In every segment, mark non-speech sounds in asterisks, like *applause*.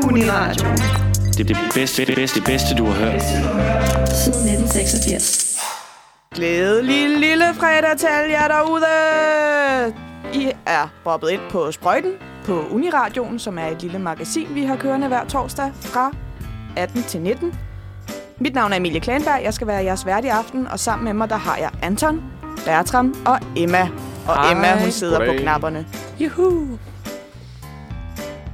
kun i radioen. Det er det bedste, det bedste, det bedste, du har hørt. Siden 1986. Glædelig lille fredag til alle jer derude! I er bobbet ind på Sprøjten på Uniradioen, som er et lille magasin, vi har kørende hver torsdag fra 18 til 19. Mit navn er Emilie Klanberg, jeg skal være jeres vært i aften, og sammen med mig der har jeg Anton, Bertram og Emma. Og Hej. Emma, hun sidder Goddag. Goddag. på knapperne. Juhu.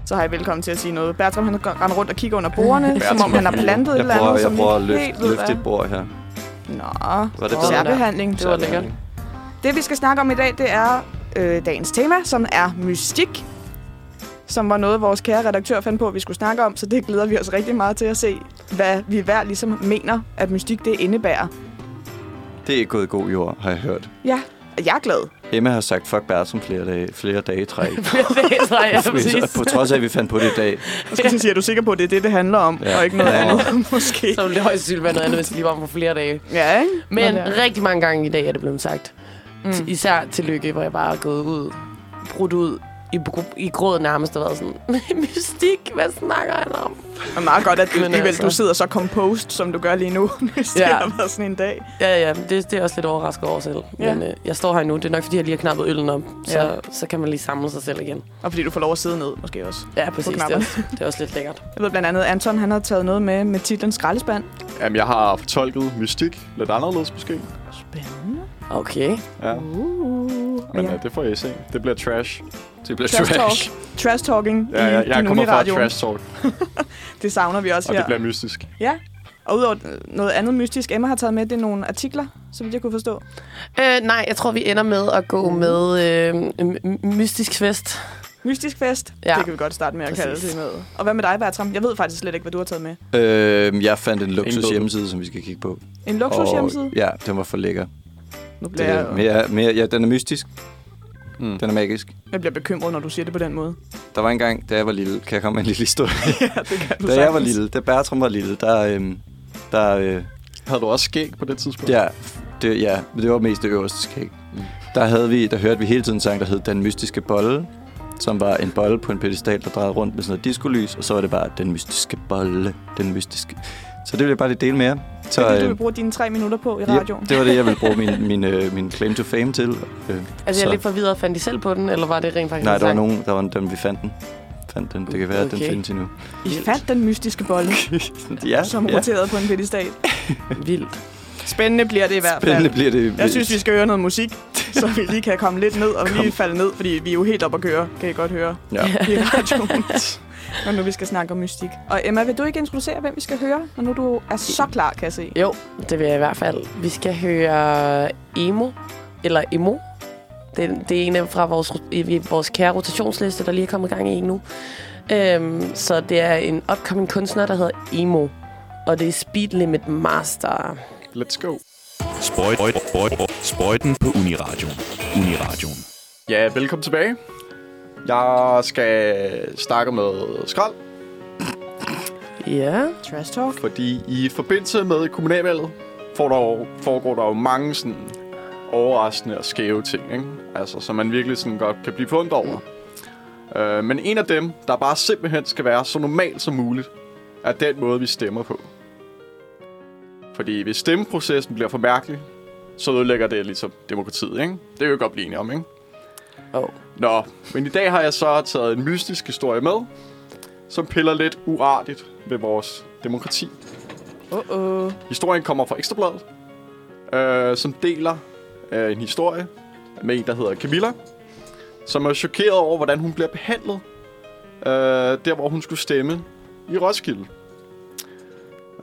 Så har jeg velkommen til at sige noget. Bertram, han render rundt og kigger under bordene, som om han har plantet et Jeg eller prøver, andet, jeg som vi prøver at ikke løfte, helt ved, løfte hvad- et bord her. Nå, Var det Nå, bedre? særbehandling. Det var lækkert. Det, vi skal snakke om i dag, det er øh, dagens tema, som er mystik. Som var noget, vores kære redaktør fandt på, at vi skulle snakke om, så det glæder vi os rigtig meget til at se, hvad vi hver ligesom mener, at mystik det indebærer. Det er ikke gået i god jord, har jeg hørt. Ja, og jeg er glad. Emma har sagt fuck Bertram flere dage, flere dage i *laughs* træk. det tror *laughs* jeg, præcis. på trods af, at vi fandt på det i dag. Og så siger, er du sikker på, at det er det, det handler om, ja. Ja. og ikke noget Ja. andet, *laughs* måske. Så ville det højst sandsynligt være noget andet, hvis det lige var om for flere dage. Ja, ikke? Men Nå, det er. rigtig mange gange i dag er det blevet sagt. Mm. Især til lykke, hvor jeg bare er gået ud, brudt ud i, br- i gråd nærmest og været sådan, *laughs* mystik, hvad snakker han om? Og meget godt, at du, Men alligevel, altså. du sidder så composed, som du gør lige nu, *laughs* hvis ja. det Ja. har været sådan en dag. Ja, ja, det, det er jeg også lidt overrasket over selv. Ja. Ja. Men øh, jeg står her nu, det er nok fordi, jeg lige har knappet øllen op, så, Ja. ja. så kan man lige samle sig selv igen. Og fordi du får lov at sidde ned, måske også. Ja, præcis. Det er, knapperne. også, det er også lidt lækkert. Jeg ved blandt andet, Anton han har taget noget med med titlen Skraldespand. Jamen, jeg har fortolket mystik lidt anderledes måske. Spændende. Okay. Ja, Uh, og men ja. ja. det får I se. Det bliver trash. Det bliver Trash talk. Trash talking Ja, i jeg, jeg din kommer fra uniradio. trash talk, Det savner vi også og her. det bliver mystisk. Ja. Og udover noget andet mystisk, Emma har taget med, det er nogle artikler, så vidt jeg kunne forstå. Øh, nej, jeg tror, vi ender med at gå med øh, m- mystisk fest. Mystisk fest, ja. Ja. det kan vi godt starte med at kalde Præcis. det med. Og hvad med dig, Bertram? Jeg ved faktisk slet ikke, hvad du har taget med. Øh, jeg fandt en luksus Indbud. hjemmeside, som vi skal kigge på. En luksus hjemmeside? Og, ja, den var for lækker. Nu bliver Det, jeg, mere, mere, ja, den er mystisk. Mm. Den er magisk. jeg bliver bekymret, når du siger det på den måde. Der var engang, da jeg var lille, kan jeg komme med en lille historie? *laughs* Ja, det kan du da jeg var sagtens. lille, da Bertram var lille, der, øhm, der øh, Havde du også skæg på det tidspunkt? Ja, det, ja, men det var mest det øverste skæg. Der, havde vi, der hørte vi hele tiden en sang, der hed Den Mystiske Bolle, som var en bolle på en pedestal, der drejede rundt med sådan noget diskolys, og så var det bare Den Mystiske Bolle, Den Mystiske... Så det ville jeg bare lige dele med jer. Så, Det er det, du øh, vil bruge dine tre minutter på i ja, radioen. det var det, jeg ville bruge *laughs* min, min, øh, min claim to fame til. Øh, Altså, jeg så- er lidt forvirret. Fandt de selv på den, eller var det rent faktisk nej, en der var sang? nogen, der var en, dem, vi fandt den. Fandt den. Det kan være, at den Okay. findes endnu. I fandt den mystiske bolle, Ja, som ja. roterede på en *laughs* pedestal. Vildt. Spændende bliver det i hvert fald. Spændende bliver det. Jeg synes, vi skal høre noget musik, *laughs* så vi lige kan komme lidt ned og lige falde ned, fordi vi er jo helt op at køre, kan I godt høre Ja. i *laughs* radioen. Når nu vi skal snakke om mystik. Og Emma, vil du ikke introducere, hvem vi skal høre, når nu du er så klar, kan jeg se? *laughs* Jo, det vil jeg i hvert fald. Vi skal høre Emo, eller Emo. Det, det er en af fra vores, i- i vores kære rotationsliste, der lige er kommet i gang i en nu. Øhm, så det er en upcoming kunstner, der hedder Emo. Og det er Speed Limit Master. Let's go. Sprøjt, sprøjt, sprøjt, sprøjten på Uniradio. Uniradio. Ja, velkommen tilbage. Jeg skal snakke med skrald, Ja. Trash Talk. fordi i forbindelse med kommunalvalget får der jo, foregår der jo mange sådan overraskende og skæve ting, ikke? Altså, som man virkelig sådan godt kan blive fundet over. Uh, men en af dem, der bare simpelthen skal være så normal som muligt, er den måde, vi stemmer på. Fordi hvis stemmeprocessen bliver for mærkelig, så ødelægger det ligesom demokratiet, ikke? Det er jo godt blive enige om, ikke? Oh. Nå, men i dag har jeg så taget en mystisk historie med, som piller lidt uartigt ved vores demokrati. Uh-oh. Historien kommer fra Ekstrabladet, øh, som deler øh, en historie med en, der hedder Camilla, som er chokeret over, hvordan hun bliver behandlet, øh, der hvor hun skulle stemme i Roskilde.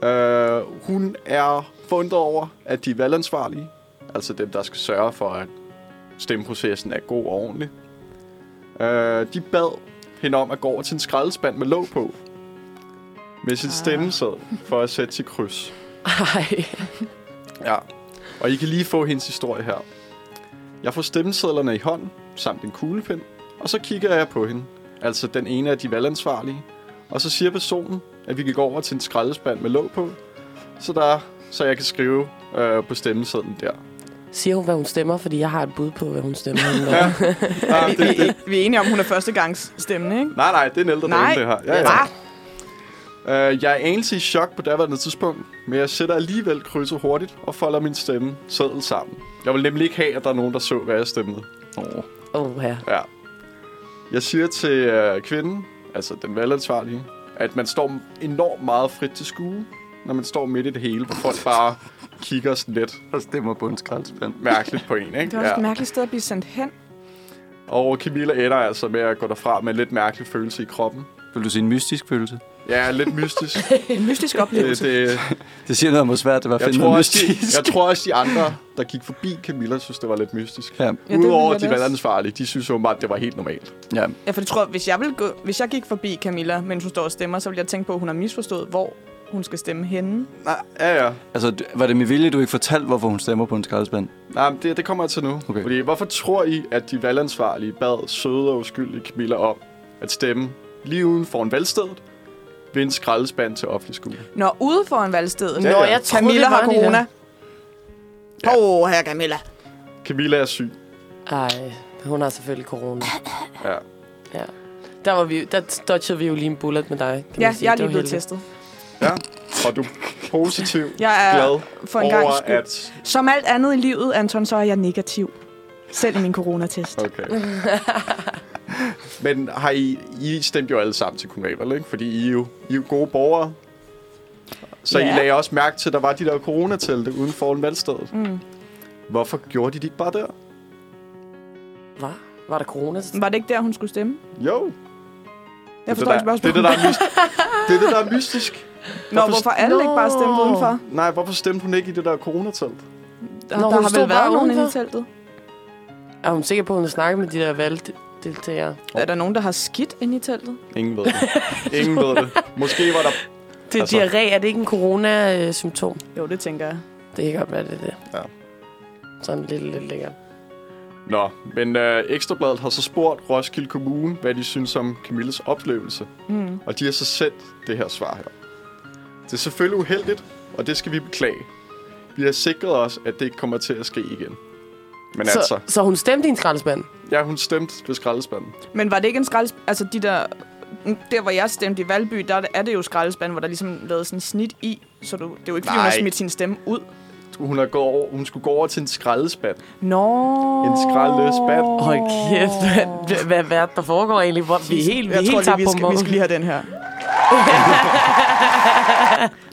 Øh, hun er forundret over, at de valgansvarlige, altså dem, der skal sørge for, at stemmeprocessen er god og ordentlig, øh, de bad hende om at gå over til en skraldespand med låg på, med sin stemmeseddel, for at sætte sit kryds. Ej. Ja. Og I kan lige få hendes historie her. Jeg får stemmesedlerne i hånden, samt en kuglepind, og så kigger jeg på hende, altså den ene af de valgansvarlige, og så siger personen, at vi kan gå over til en skraldespand med låg på, så, der, så jeg kan skrive øh, på stemmesedlen der. Siger hun, hvad hun stemmer? Fordi jeg har et bud på, hvad hun *laughs* stemmer. Ja. Ja, Vi, vi, vi er enige om, hun er førstegangs stemme, ikke? Ah, Nej, nej, det er en ældre Nej. dame, det her. Ja, ja. Ah, Øh, jeg er anelse i chok på daværende tidspunkt, men jeg sætter alligevel krydset hurtigt og folder min stemme sædel sammen. Jeg vil nemlig ikke have, at der er nogen, der så, hvad jeg stemmede. Oh. Åh, her. Ja. Jeg siger til øh, kvinden, altså den valgansvarlige, at man står enormt meget frit til skue, når man står midt i det hele, hvor *laughs* folk bare kigger sådan lidt Og stemmer på en skraldspand. mærkeligt på en, ikke? Det var også ja. et mærkeligt sted at blive sendt hen. Og Camilla ender altså med at gå derfra med en lidt mærkelig følelse i kroppen. Vil du sige en mystisk følelse? Ja, lidt *laughs* mystisk. En mystisk det, oplevelse. det, Det siger noget om, hvor svært det var at jeg, finde tror noget også, mystisk. de, jeg tror også, de andre, der gik forbi Camilla, synes, det var lidt mystisk. Ja. Ja, det ville Udover jeg de da også. valgansvarlige, de synes jo bare, at det var helt normalt. ja. Ja, for det tror jeg, hvis jeg, ville gå, hvis jeg gik forbi Camilla, mens hun står og stemmer, så ville jeg tænke på, at hun har misforstået, hvor hun skal stemme henne. Nej, ja, ja. Altså, d- var det med vilje, du ikke fortalte, hvorfor hun stemmer på en skraldespand? Nej, men det, det kommer jeg til nu. Okay. Fordi, hvorfor tror I, at de valgansvarlige bad søde og uskyldige Camilla om at stemme lige uden for en valgsted ved en skraldespand til offentlig skole? Når ude foran valgstedet, Ja, Nå, ja. jeg troede, Camilla det var har det corona. Åh, oh, her Camilla. Camilla er syg. der. Ej, hun har selvfølgelig corona. Ja. Ja. Der, var vi, der dodgede vi jo lige en bullet med dig. Kan Ja, man sige. jeg er Det lige var blevet heldigt. testet. ja. Og du er positiv, Jeg er glad for en gang over, skyld. at... Som alt andet i livet, Anton, så er jeg negativ. Selv i min coronatest. Okay. Men har I, I stemte jo alle sammen til kommunalvalget, ikke? Fordi I er jo, I er jo gode borgere. Så Ja. I lagde også mærke til, at der var de der coronatelte uden foran valgstedet. Mm. Hvorfor gjorde de det ikke bare der? Hvad? Var der corona? Var det ikke der, hun skulle stemme? Jo. Jeg det, forstår der, ikke det er spørgsmålet. det, der er mystisk. det er det, der er mystisk. Nå, hvorfor alle ikke bare stemte Nå. udenfor? Nej, hvorfor stemte hun ikke i det der coronatelt? Der, Nå, der hun har stod vel været bare nogen inde i udenfor. teltet. Er hun sikker på, at hun snakker med de der valgdeltagere? Er der nogen, der har skidt inde i teltet? Ingen ved det. Ingen ved det. *laughs* Måske var der... Det er Altså- altså. diarré. Er det ikke en corona-symptom? Jo, det tænker jeg. Det kan godt være, det er det. Ja. Sådan lidt, lidt lækkert. Nå, men øh, Ekstrabladet har så spurgt Roskilde Kommune, hvad de synes om Camilles oplevelse. Mm. Og de har så sendt det her svar her. Det er selvfølgelig uheldigt, og det skal vi beklage. Vi har sikret os, at det ikke kommer til at ske igen. Men så... altså, Så, så hun stemte i en skraldespand? ja, hun stemte ved skraldespanden. Men var det ikke en skralds... Altså, de der... Der, hvor jeg stemte i Valby, der er det- er det jo skraldespand, hvor der ligesom lavet sådan en snit i. Så du, det er jo ikke, fordi hun har Nej. smidt sin stemme ud. Hun, er gået over, hun skulle gå over til en skraldespand. Nå. En skraldespand. Hold kæft, mand. Hvad, hvad er det, der foregår egentlig? Hvor, vi er helt, vi er Jeg tror lige, helt tabt vi på skal, vi skal lige have den her.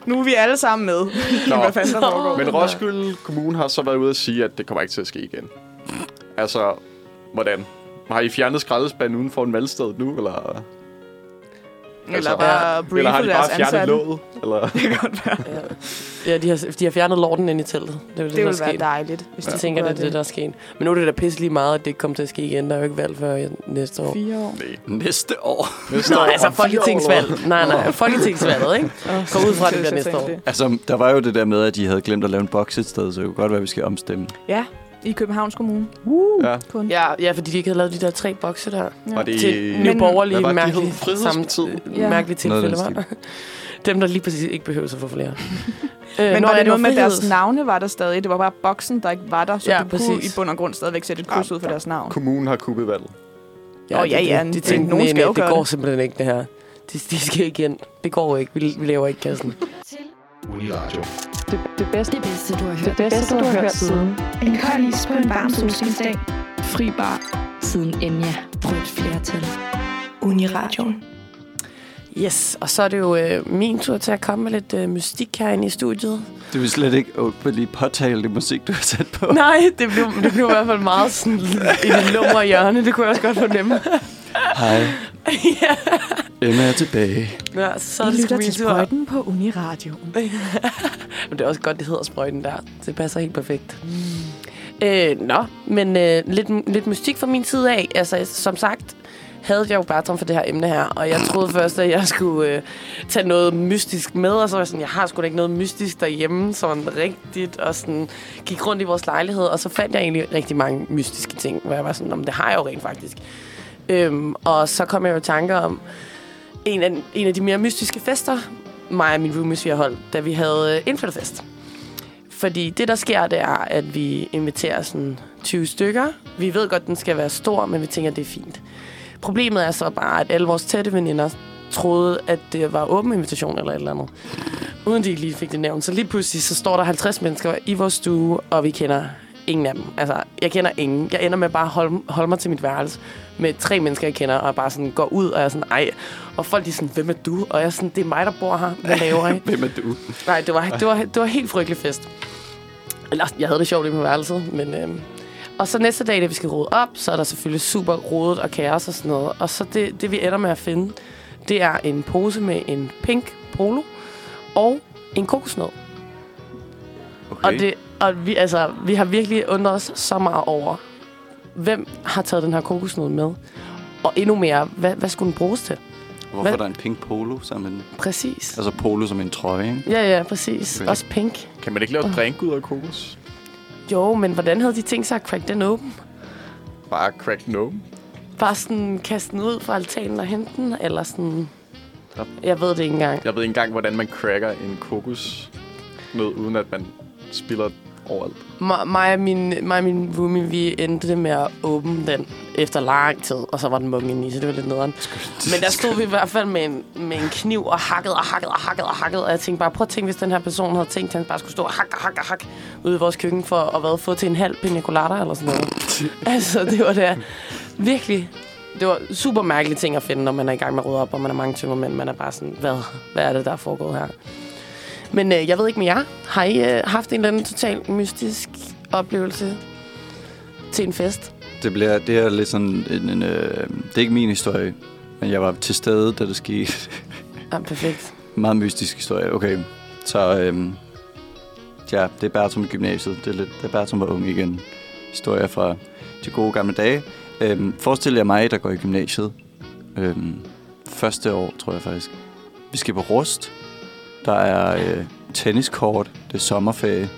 nu er vi alle sammen med. Nå. Hvad fanden der foregår? Men Roskilde Kommune har så været ude at sige, at det kommer ikke til at ske igen. Altså, hvordan? Har I fjernet skraldespanden uden for en valgsted nu, eller, Eller bare altså, eller har briefet de deres bare fjernet ansatte. låget? Eller? Ja, de har, de har fjernet lorten ind i teltet. Det er jo Det det, der er ville være sket. dejligt, hvis Jeg de tænker, det er det, der er sket. Men nu er det da pisse lige meget, at det ikke kommer til at ske igen. Der er jo ikke valg før næste år. Fire år. Næste år. Nå, altså folketingsvalg. Nej, nej, folketingsvalget, ikke? Gå ud fra, at det bliver næste år. Altså, der var jo det der med, at de havde glemt at lave en boks et sted, så det kunne godt være, at vi skal omstemme. Ja, i Københavns Kommune. Ja. Kun. Ja. Ja, ja, fordi de ikke havde lavet de der tre bokse der. Var det, Til Men- nye borgerlige Hvad var det, de hed? mærkelige, Frihedspartiet? samt- Ja. mærkelige Noget af tilfælde, den var. Dem, der lige præcis ikke behøver at få flere. Øh, Men Nå, var det noget med, at deres navne var der stadig? Det var bare boksen, der ikke var der, så Ja, du kunne i præcis. bund og grund stadigvæk sætte et kryds ud for deres navn. Kommunen har kuppet valget. Ja, Åh, ja, det- ja, det- De det- tænkte, nogen nej, skal nej, jo gøre det går det. simpelthen ikke, det her. De, de skal igen. Det går ikke. Vi, vi laver ikke kassen. Uniradio. Det, det bedste, Det bedste, du har hørt. det bedste, du har hørt siden. En kold is på en varm solskinsdag. Fri bar. Siden Enya. Rødt flertal. Uniradioen. Yes, og så er det jo øh, min tur til at komme med lidt øh, mystik herinde i studiet. Du vil slet ikke åbne lige påtale det musik, du har sat på. *laughs* Nej, det blev, det blev i hvert fald meget sådan i det lumre hjørne. Det kunne jeg også godt fornemme. Hej. Emma er tilbage. *laughs* Ja, så er I det lytter sgu min til tur. sprøjten på Uniradio. Men det er også godt, det hedder sprøjten der. Det passer helt perfekt. Øh, nå, men øh, lidt, lidt mystik fra min side af. Altså, som sagt, havde jeg jo Bertram for det her emne her, og jeg troede først, at jeg skulle øh, tage noget mystisk med, og så var jeg sådan, jeg har sgu da ikke noget mystisk derhjemme, sådan rigtigt, og sådan gik rundt i vores lejlighed, og så fandt jeg egentlig rigtig mange mystiske ting, hvor jeg var sådan, "Nå, men det har jeg jo rent faktisk. Øhm, og så kom jeg jo i tanker om en af, en af de mere mystiske fester, mig og min roomies, vi har holdt, da vi havde øh, indflytterfest. Fordi det, der sker, det er, at vi inviterer sådan 20 stykker. Vi ved godt, den skal være stor, men vi tænker, det er fint. Problemet er så bare, at alle vores tætte veninder, troede, at det var åben invitation eller et eller andet. Uden de ikke lige fik det nævnt. Så lige pludselig, så står der 50 mennesker i vores stue, og vi kender ingen af dem. Altså, jeg kender ingen. Jeg ender med bare at holde, holde mig til mit værelse med tre mennesker, jeg kender, og bare sådan går ud, og jeg er sådan, ej. Og folk de er sådan, hvem er du? Og jeg er sådan, det er mig, der bor her. Hvad laver I? Hvem er du? Nej, det var, det var, det var helt frygtelig fest. Eller, jeg havde det sjovt lige på værelset, men... Øhm. Og så næste dag, da vi skal rode op, så er der selvfølgelig super rodet og kaos og sådan noget. Og så det, det vi ender med at finde, det er en pose med en pink polo og en kokosnød. Okay. Og, det, og vi, altså, vi har virkelig undret os så meget over, hvem har taget den her kokosnød med? Og endnu mere, hvad, hvad skulle den bruges til? Hvorfor hvad- er der en pink polo sammen med den? Præcis. Altså polo som en trøje, ikke? Ja, ja, præcis. Okay. Også pink. Kan man ikke lave drink ud af kokos? Jo, men hvordan havde de tænkt sig at crack den åben? Bare crack no. Bare sådan kaste den ud fra altanen og hente den, eller sådan... Jeg ved det ikke engang. Jeg ved ikke engang, hvordan man cracker en kokos med, uden at man spiller overalt. M- mig, og min, mig og min roomie, vi endte det med at åbne den efter lang tid, og så var den muggen inde i, så det var lidt nederen. *laughs* Men der stod vi i hvert fald med en, med en kniv og hakkede og hakkede og hakkede og hakkede, og jeg tænkte bare, prøv at tænke, hvis den her person havde tænkt, at han bare skulle stå og hakke og hakke og hakke ude i vores køkken for at hvad, få til en halv pina colada eller sådan noget. altså, det var da virkelig... Det var super mærkelige ting at finde, når man er i gang med at rydde op, og man er mange tømmermænd. Man er bare sådan, hvad, hvad er det, der er foregået her? Men øh, jeg ved ikke med jer. Har I øh, haft en eller anden total mystisk oplevelse til en fest? Det, bliver, det er lidt sådan en... en øh, det er ikke min historie, men jeg var til stede, da det skete. Ah, perfekt. Meget mystisk historie, okay. Så øhm, ja, det er Bertram i gymnasiet. Det er lidt, da Bertram var ung igen. Historier fra de gode gamle dage. Øhm, forestil jer mig, der går i gymnasiet. Øhm, første år, tror jeg faktisk. Vi skal på Rust. Der er øh, tenniskort. Det er sommerferie.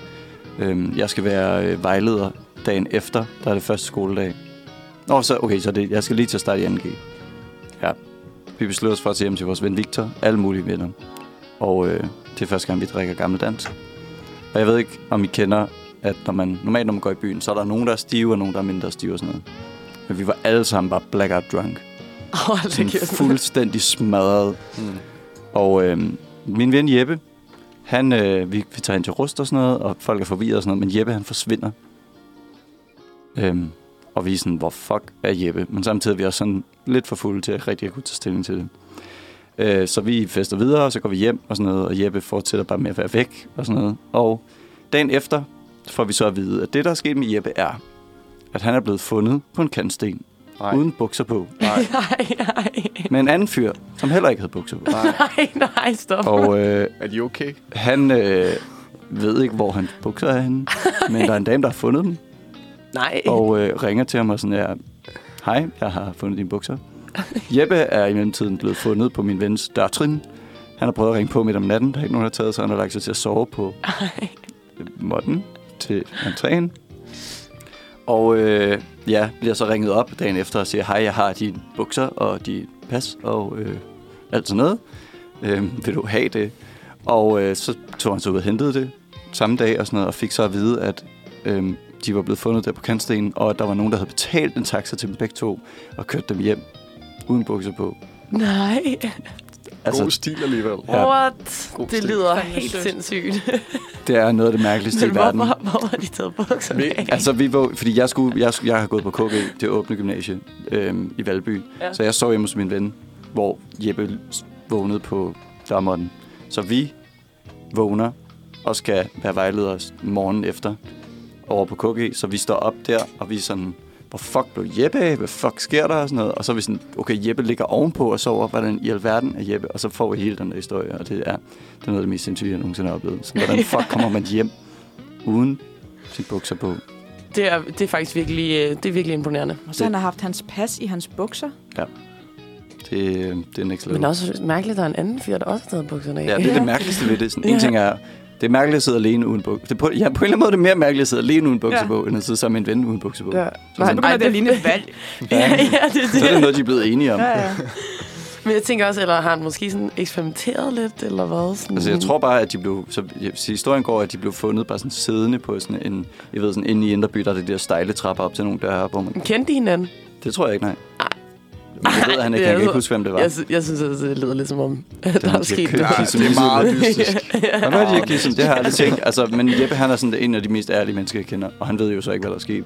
Øhm, jeg skal være øh, vejleder dagen efter. Der er det første skoledag. Nå, så, okay, så det, jeg skal lige til at starte i 2G. Ja. Vi beslutter os for at tage hjem til vores ven Victor. Alle mulige venner. Og øh, det er første gang, vi drikker gammel dansk. Og jeg ved ikke, om I kender, at når man, normalt når man går i byen, så er der nogen, der er stive, og nogen, der er mindre stive og sådan noget. Men vi var alle sammen bare blackout drunk. Åh, *laughs* det Sådan giver sådan- Mm. fuldstændig smadret. Og øh, min ven Jeppe, han, øh, vi, vi tager ind til rust og sådan noget, og folk er forvirret og sådan noget, men Jeppe han forsvinder. Øhm, og vi er sådan, hvor fuck er Jeppe? Men samtidig er vi også sådan lidt for fulde til at rigtig at kunne tage stilling til det. Øh, så vi fester videre, og så går vi hjem og sådan noget, og Jeppe fortsætter bare med at være væk og sådan noget. Og dagen efter får vi så at vide, at det, der er sket med Jeppe, er, at han er blevet fundet på en kantsten, Nej. uden bukser på, Nej, nej, med en anden fyr, som heller ikke havde bukser på. nej, nej, stop. Og øh, Er de okay? han øh, ved ikke, hvor hans bukser er henne, men der er en dame, der har fundet dem, Nej. og øh, ringer til ham og sådan her, hej, jeg har fundet dine bukser. Jeppe er i mellemtiden blevet fundet på min vens dørtrin. Han har prøvet at ringe på midt om natten, der er ikke nogen, der har taget sig, han har lagt sig til at sove på modden til entréen. Og øh, ja, bliver så ringet op dagen efter og siger, hej, jeg har dine bukser og dit pas og øh, alt sådan noget. Øh, vil du have det? Og øh, så tog han så ud og hentede det samme dag og sådan noget, og fik så at vide, at øh, de var blevet fundet der på kantstenen, og at der var nogen, der havde betalt en taxa til dem begge to og kørt dem hjem uden bukser på. Nej. Altså, God stil alligevel. Ja. What? God Det stil. lyder helt sindssygt. det er noget af det mærkeligste Men i verden. hvorfor, hvorfor har de taget *laughs* bukserne Men- af? Altså, vi var, fordi jeg, skulle, jeg, skulle- jeg har gået på KG, det åbne gymnasie øhm, i Valby. Ja. Ja. Så jeg sov hjemme hos min ven, hvor Jeppe vågnede på dørmånden. Så vi vågner og skal være vejledere morgen efter over på KG. Så vi står op der, og vi er sådan, hvor fuck blev Jeppe af? Hvad fuck sker der? Og sådan noget. Og så er vi sådan, okay, Jeppe ligger ovenpå og sover. Hvordan i alverden er Jeppe? Og så får vi hele den der historie, og det er, det er noget af det mest sindssyge, jeg nogensinde har oplevet. Så hvordan fuck kommer man hjem uden sine bukser på? Det er, det er faktisk virkelig, øh, det er virkelig imponerende. Og så han har haft hans pas i hans bukser. Det, øh, det er next level. Men også mærkeligt, at der er en anden fyr, der også har taget bukserne af. Ja, det er det mærkeligste ved det. Sådan, En Ja. ting er, det er mærkeligt at sidde alene uden bukser. Det er på, ja, på en eller anden måde er det mere mærkeligt at sidde alene uden bukser Ja. ja. på, end at sidde sammen med en ven uden bukser på. Ja. Ja. Og så begynder Ej, det at ligne et valg. ja, ja, det er det. Så er det noget, de er blevet enige om. Ja, Ja. ja. *laughs* Men jeg tænker også, eller har han måske sådan eksperimenteret lidt, eller hvad? Sådan, Altså, jeg tror bare, at de blev... Så, så historien går, at de blev fundet bare sådan siddende på sådan en... Jeg ved, sådan inde i Indreby, der er det der stejle trapper op til nogle døre, hvor man... Kendte de hinanden? Det tror jeg ikke, nej. Men jeg ved, at han ikke, jeg kan ikke huske, hvem det var. Jeg, sy- jeg synes, altså, det lyder lidt som om, at der han er siger, sket køb noget. Ja, Nej, *laughs* det er det er meget mystisk. Hvad var det, jeg gik sådan? Det har jeg aldrig tænkt. Altså, men Jeppe, han er sådan en af de mest ærlige mennesker, jeg kender. Og han ved jo så ikke, hvad der er sket.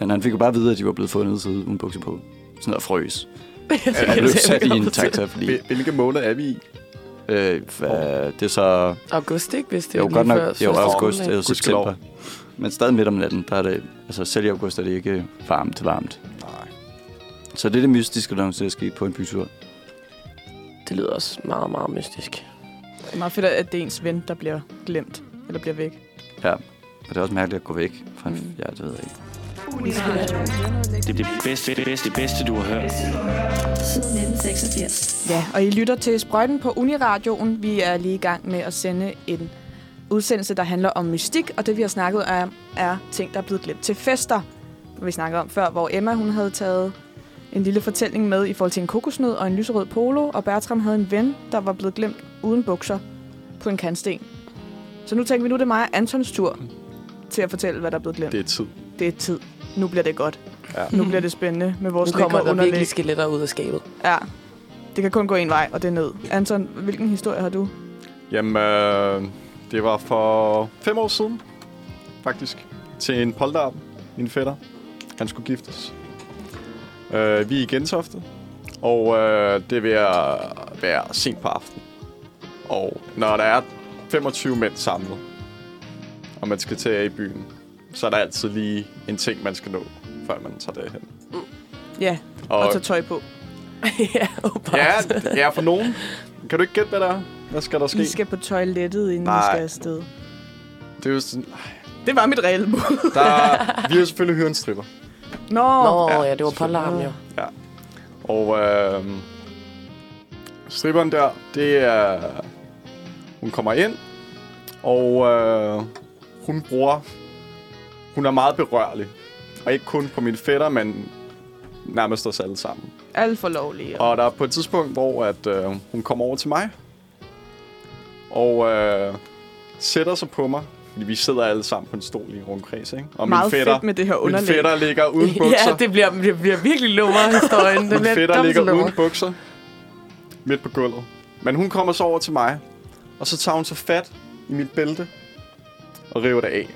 Men han fik jo bare at vide, at de var blevet fundet så uden bukser på. Sådan og *laughs* frøs. Jeg Han blev kan sat i ikke en op til. taxa, fordi... Hvil- Hvilke måneder er vi i? Øh, hvad, det er så... August, ikke? Hvis det Det er jo er godt lige nok før jo, første august skoledag. eller Gudskelov. september. Men stadig midt om natten, der er det... Altså, selv i august er det ikke varmt, varmt. Nej. Så det er det mystiske, der er sket på en bytur. Det lyder også meget, meget mystisk. Det er meget fedt, at det er ens ven, der bliver glemt. Eller bliver væk. Og det er også mærkeligt at gå væk fra en... Ja, det ved jeg ikke. Det, det bedste, det bedste, det bedste, du har hørt. Siden 1986. Ja, og I lytter til Sprøjten på Uniradioen. Vi er lige i gang med at sende en udsendelse, der handler om mystik, og det vi har snakket om er ting, der er blevet glemt til fester. Vi snakkede om før, hvor Emma hun havde taget en lille fortælling med i forhold til en kokosnød og en lyserød polo, og Bertram havde en ven, der var blevet glemt uden bukser på en kantsten. Så nu tænker vi, nu er det mig og Antons tur til at fortælle, hvad der er blevet glemt. Det Det, er tid. det er tid. Nu bliver det godt. Ja. Nu bliver det spændende med vores Nu lækre kommer der underlæg. virkelig skeletter ud af *laughs* skabet. Ja. Det kan kun gå en vej, og det er ned. Anton, hvilken historie har du? Jamen, øh, det var for fem år siden, faktisk, til en polterappen, min fætter. Han skulle giftes. Øh, vi er i Gentofte, og øh, det er ved at være sent på aftenen. Og når der er 25 mænd samlet, og man skal til i byen, så er der altid lige en ting, man skal nå, før man tager det hen. Ja, og, og tage tøj på. ja, åbenbart. ja, ja, for nogen. Kan du ikke gætte, hvad der er? Hvad skal der ske? I skal på toilettet, inden I Nej. skal afsted. Det er jo sådan, Det var mit reelle bud. der er, vi har jo selvfølgelig hyret en stripper. Nå, Nå. Nå, Ja, ja, det var pollarm jo. Og øh, stripperen der, det er... Hun kommer ind, og øh, hun bruger... Hun er meget berørlig. Og ikke kun på min fætter, men nærmest os alle sammen. alt for lovligt. Og der er på et tidspunkt, hvor at, øh, hun kommer over til mig. Og øh, sætter sig på mig. Fordi vi sidder alle sammen på en stol i en rundkreds, ikke? Og Meget fedt med det her min underlæg. fætter ligger *laughs* uden bukser. Ja, det bliver, det bliver virkelig lummer historien. Det Min bliver fætter dobbelt ligger så lummer. uden bukser. Midt på gulvet. Men hun kommer så over til mig. Og så tager hun så fat i mit bælte. Og river det af.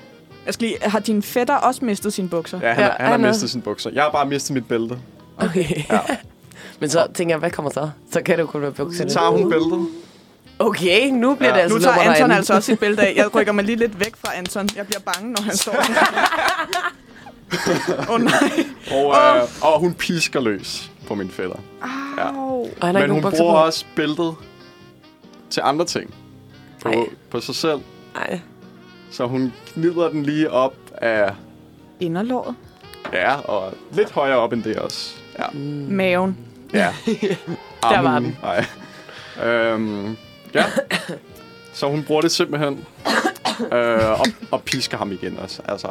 Jeg skal lige, har din fætter også mistet sine bukser? Ja, han, Ja, ja, han har han er- mistet sine bukser. Jeg har bare mistet mit bælte. Okay. Ja. *laughs* Men så tænker jeg, hvad kommer så? Så kan det jo kun være Så bukserne. tager hun bæltet. Okay, nu bliver Ja. det altså Nu tager nummer Anton derinde. altså også sit bælte af. Jeg rykker mig lige lidt væk fra Anton. Jeg bliver bange, når han står der. Åh oh, nej. Og, øh, og hun pisker løs på min fætter. Ja. Au. Og han har Men ikke hun nogen bukser bruger på. også bæltet til andre ting. På, Ej. på sig selv. Ej. Så hun knider den lige op af... Inderlåret. Ja, og lidt højere op end det også. Ja. Maven. Ja. Ah, Der var den. Nej. Øhm, ja. Så hun bruger det simpelthen. øh, og, og pisker ham igen også. Altså.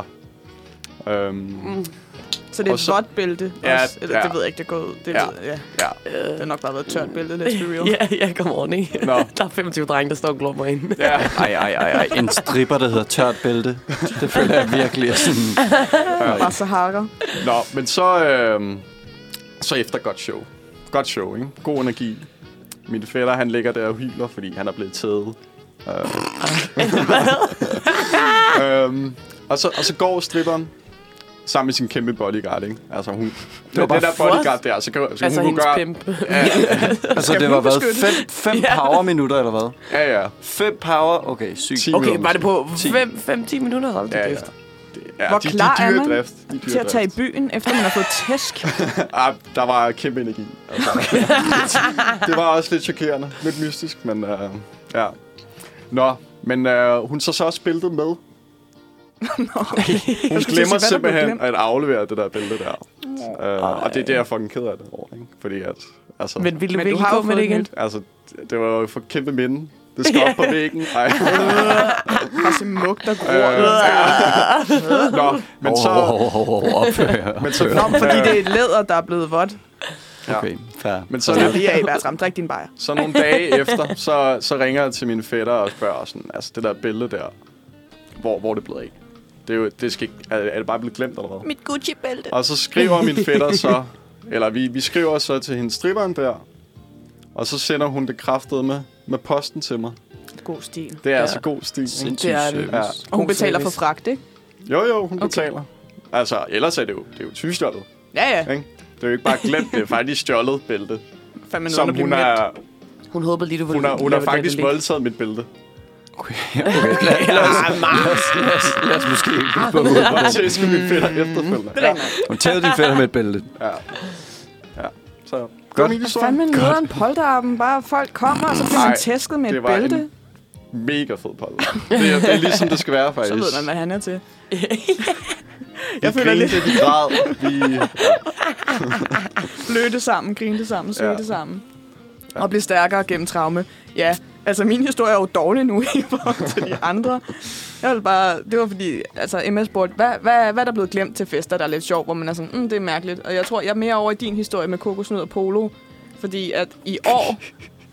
Øhm, mm. Så det er Og et så- vådt bælte. Ja, også. Eller, ja. det ved jeg ikke, det går ud. Det, Ja. ved, ja. Ja. det har nok bare været et tørt bælte, let's be real. *laughs* Ja, ja, come on, ikke? Nå. Der er 25 drenge, der står og glummer ind. ja. Ej, ej, ej, ej. En stripper, der hedder tørt bælte. Det føler jeg virkelig er sådan... Bare så hakker. Nå, men så, øhm, så efter godt show. Godt show, ikke? God energi. Min fætter, han ligger der og hyler, fordi han er blevet taget. Øh. øhm, og, så, og så går stripperen sammen med sin kæmpe bodyguard, ikke? Altså hun... Det var bare den der bodyguard der, så kan så Altså hun kunne hendes gøre... pimp. Altså, det var været fem, *laughs* fem power-minutter, eller hvad? Ja, ja. Fem power... Okay, sygt. 10 Okay, var det på 10. 5-10 minutter? Hold da Ja, ja. kæft. Det- ja Hvor de, klar de er dyre man drift, de dyre Til at tage i drift. byen, efter man har fået *laughs* tæsk. Ah, der var kæmpe energi. *laughs* Altså. det var også lidt chokerende. Lidt mystisk, men uh, ja. Nå, men uh, hun så så også bæltet med. Hun Jeg skulle til at sige, glemmer hvad der blev simpelthen glemt. at aflevere det der bælte der. Uh, og det er det, jeg er fucking ked af det over, ikke? Fordi at, altså, Men ville du Men du virkelig har jo gå med fået det et igen? nyt. altså, det- det var jo for kæmpe minde. Det skal *laughs* op på væggen. Ej. Øh, Bare se mug, der gror. Øh, ja. Nå, men så... Oh, oh, oh, *laughs* opfør. Men så, øh. Nå, fordi det er læder, der er blevet vådt. Okay, fair. men så Så lidt, lige af, Bertram. Drik din bajer. Så nogle dage efter, så, så ringer jeg til min fætter og spørger sådan, altså det der billede der, hvor, hvor er det blev af. Det er jo, det skal ikke, er, er det bare blevet glemt eller hvad? Mit Gucci-bælte. Og så skriver min fætter så, Eller vi, vi skriver så til hende stripperen der, og så sender hun det kraftede med, med posten til mig. God stil. Det er Ja. ja. altså god stil. Ikke? Sindssyg det er det. service. Ja. Og hun God betaler for service. fragt, ikke? Jo, jo, hun okay. betaler. Altså, ellers er det jo, det er jo tyvstjålet, Ja, ja. ikke? Det er jo ikke bare glemt, det er faktisk stjålet bælte. Fandme noget, der Som bliver hun er, Hun håbede lige, du ville... hun er, hun er lave faktisk det, det voldtaget mit bælte. Lad os *laughs* måske ikke gå på hovedet. Og *laughs* det skal vi fætter efterfølgende. Ja, *laughs* Hun tævede din fætter med et bælte. så Godt. godt. Det Godt. Fandme historie. nederen polterappen. Bare folk kommer, og så bliver man Ej, tæsket med det et var en- bælte. Mega fed polle. Det, er, det er ligesom det *laughs* skal være, faktisk. Så ved man, hvad han er til. jeg føler lidt. Vi græd. Vi, Blødte sammen, grinte sammen, søgte Ja. sammen. Og blive stærkere gennem traume. Ja, altså min historie er jo dårlig nu *laughs* i forhold til de andre. Jeg vil bare, det var fordi, altså Emma spurgte, hvad, hvad, hvad er der blevet glemt til fester, der er lidt sjovt, hvor man er sådan, mm, det er mærkeligt. Og jeg tror, jeg er mere over i din historie med kokosnød og polo. Fordi at i år,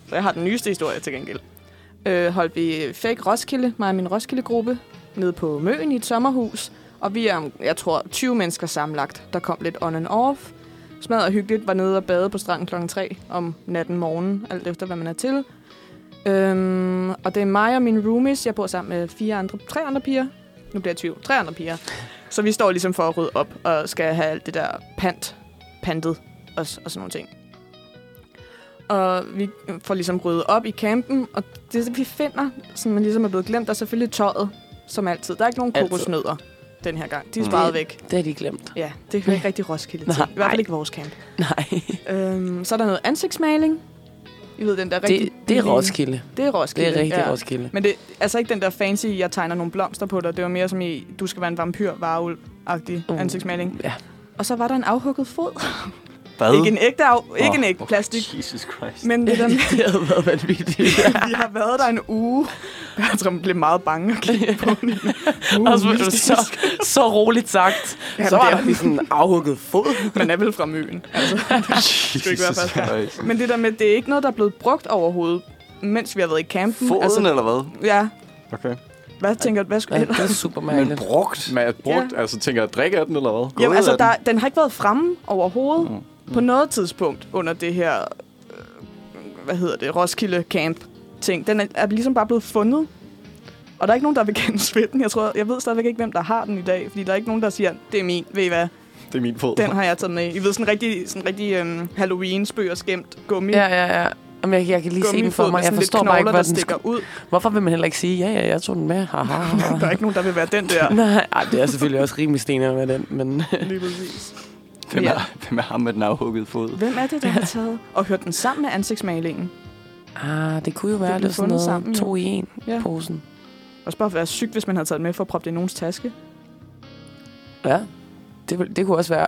så jeg har den nyeste historie til gengæld, øh, holdt vi fake Roskilde, mig og min Roskilde-gruppe, nede på Møen i et sommerhus. Og vi er, jeg tror, 20 mennesker sammenlagt, der kom lidt on and off. Smadret og hyggeligt var nede og bade på stranden kl. 3 om natten morgen, alt efter hvad man er til. Øhm, og det er mig og mine roomies. Jeg bor sammen med fire andre, tre andre piger. Nu bliver jeg 20. Tre andre piger. Så vi står ligesom for at rydde op og skal have alt det der pant, pantet og, s- og sådan nogle ting. Og vi får ligesom ryddet op i campen, og det vi finder, som man ligesom er blevet glemt, er selvfølgelig tøjet, som altid. Der er ikke nogen Altid. kokosnødder den her gang. De er sparet Det- væk. Det har de glemt. Ja, det hører ikke rigtig Roskilde til. Nej. I hvert fald ikke vores camp. Nej, Øhm, så er der noget ansigtsmaling. I ved, den der rigtig... *laughs* det, det er billige- Roskilde. Det er Det Roskilde, er rigtig ja. Roskilde. Men det er altså ikke den der fancy, jeg tegner nogle blomster på dig. Det var mere som i, du skal være en vampyr, varulv-agtig Uh, uh, ansigtsmaling. ja. Og så var der en afhugget fod. Hvad? Ikke en ægte, af, ikke en ægte plastik, Jesus Christ. men *laughs* det der *laughs* med, Det havde været vanvittigt. *laughs* vi har været der en uge. Bertram blev meget bange og kiggede på *laughs* den. Uh, Også, det var mystisk. så, *laughs* så roligt sagt. Jamen, så var det er der lige sådan en afhugget *laughs* fod. Man er vel fra møen. *laughs* Altså, det skal ikke være Jesus første gang. Christ. Men det der med, det er ikke noget, der er blevet brugt overhovedet, mens vi har været i campen. Foden altså, eller hvad? ja, okay. hvad tænker du, hvad skulle Ja, ellers? det er super Men mærkeligt. brugt? Men jeg brugt, ja. altså tænker jeg at drikke af den, eller hvad? Jamen, Gået altså, af den. der, den har ikke været fremme overhovedet mm. på noget tidspunkt under det her, øh, hvad hedder det, Roskilde Camp ting. Den er, er ligesom bare blevet fundet. Og der er ikke nogen, der vil *laughs* kendes ved den. Jeg, tror, jeg ved stadigvæk ikke, hvem der har den i dag, fordi der er ikke nogen, der siger, det er min, ved I hvad, Det er min fod. den har jeg taget med. I ved, sådan en rigtig, sådan en rigtig øhm, Halloween-spøg og skæmt gummi. Ja, ja, ja. Jamen, jeg, jeg kan lige se den for gummifod mig. med Jeg sådan lidt forstår bare ikke, knogler, der hvor den stikker ud. *laughs* skulle- Hvorfor vil man heller ikke sige, ja, ja, jeg tog den med. Haha. Der er ikke nogen, der vil være den *laughs* der. Nej, ej, det er selvfølgelig også rimelig stenet med den, *laughs* men... Lige præcis. Hvem Ja. er, hvem er ham med den afhuggede fod? Hvem er det, der har taget og hørt den sammen med ansigtsmalingen? Ah, det kunne jo være, blev det, var sådan fundet noget sammen, sammen, jo. to i en Ja. ja. posen. Også bare være syg, hvis man havde taget den med for at proppe det i nogens taske. Ja, det, vil- det kunne også være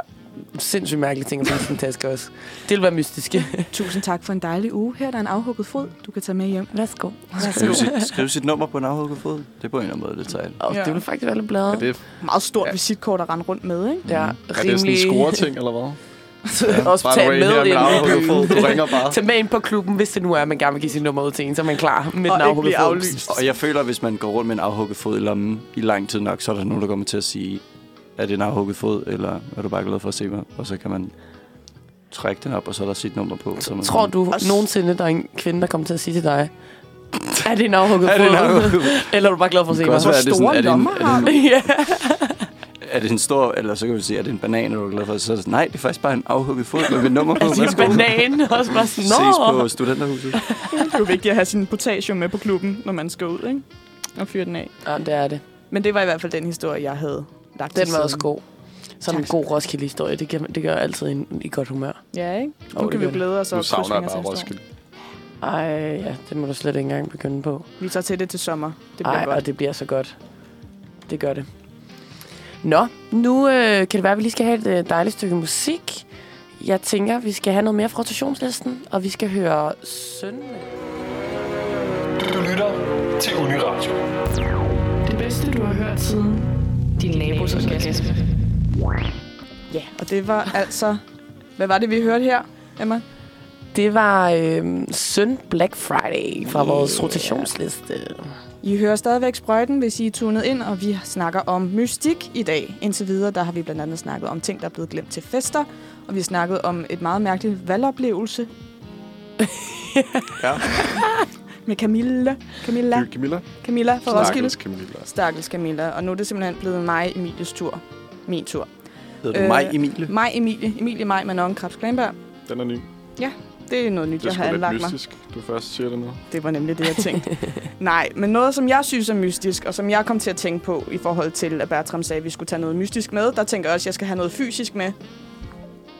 sindssygt mærkelige ting at finde i sin taske også. Det ville være mystisk. Tusind tak for en dejlig uge. Her er der en afhugget fod, du kan tage med hjem. Værsgo. *laughs* Skriv sit, skriv sit nummer på en afhugget fod. Det er på en eller anden måde lidt sejt. Og Ja. det ville faktisk være lidt bladret. Er det, Meget stort ja. visitkort at rende rundt med, ikke? Ja, er det sådan en rimelig- score-ting, eller hvad? også By the tage way, her med er min afhuggede fod. ind i *laughs* Du byen. ringer bare. Tag med ind på klubben, hvis det nu er, at man gerne vil give sit nummer ud til en, så er man klar med Og den ikke afhuggede blive fod. aflyst. Og jeg føler, at hvis man går rundt med en afhugget fod i lommen i lang tid nok, så er der nogen, der kommer til at sige, er det en afhugget fod, eller er du bare glad for at se mig? Og så kan man trække den op, og så er der sit nummer på. Så er man Tror sådan, du nogensinde, der er en kvinde, der kommer til at sige til dig, er det en afhugget *laughs* Er det en fod? afhugget fod? Eller er du bare glad for at se Det mig? kan også være, er det store sådan, er det en, lommer har er det, en, *laughs* ja. er det en stor, eller så kan man sige, er det en banan, er du glad for? Så er det sådan, nej, det er faktisk bare en afhugget fod med mit nummer på. Altså, en Værsgo. banan også bare sådan, Ses Nå, på studenterhuset. Det er jo vigtigt at have sin potassium med på klubben, når man skal ud, ikke? Og fyre den af. Ja, det er det. Men det var i hvert fald den historie, jeg havde lagt til Den var siden. også god. Sådan en Tak. god Roskilde-historie, det, gør- det gør altid en i godt humør. Ja, ikke? Nu Jo, oh, det kan vi gør det. glæde os og Nu krydse savner jeg fingre til bare næste år. Roskilde. Ej, ja, det må du slet ikke engang begynde på. Vi tager til det til sommer. Det bliver Ej, godt. og det bliver så godt. Det gør det. Nå, nu øh, kan det være, at vi lige skal have et øh, dejligt stykke musik. Jeg tænker, vi skal have noget mere fra rotationslisten, og vi skal høre Søndag. Du lytter til Uniradio. Det bedste, du har hørt siden din nabos orgasme. Og det var altså... Hvad var det, vi hørte her, Emma? Det var øh, Søn Black Friday fra vores rotationsliste. I hører stadigvæk sprøjten, hvis I er tunet ind, og vi snakker om mystik i dag. Indtil videre, der har vi blandt andet snakket om ting, der er blevet glemt til fester, og vi snakkede om et meget mærkeligt valgoplevelse *laughs* Ja, med Camilla. Camilla, det er Camilla. Camilla fra Roskilde. Stakkels Camilla. Stakkels Camilla. Og nu er det simpelthen blevet mig Emilies tur. Min tur. Hedder du Øh, øh, mig, Emilie? Mig Emilie. Emilie mig med nogen Krabs Glenberg. Den er ny. Det er noget nyt, Det er jeg sgu har lidt anlagt mig. mystisk, du først siger det nu. Det var nemlig det, jeg *laughs* tænkte. Nej, men noget, som jeg synes er mystisk, og som jeg kom til at tænke på i forhold til, at Bertram sagde, at vi skulle tage noget mystisk med, der tænker jeg også, at jeg skal have noget fysisk med. *laughs*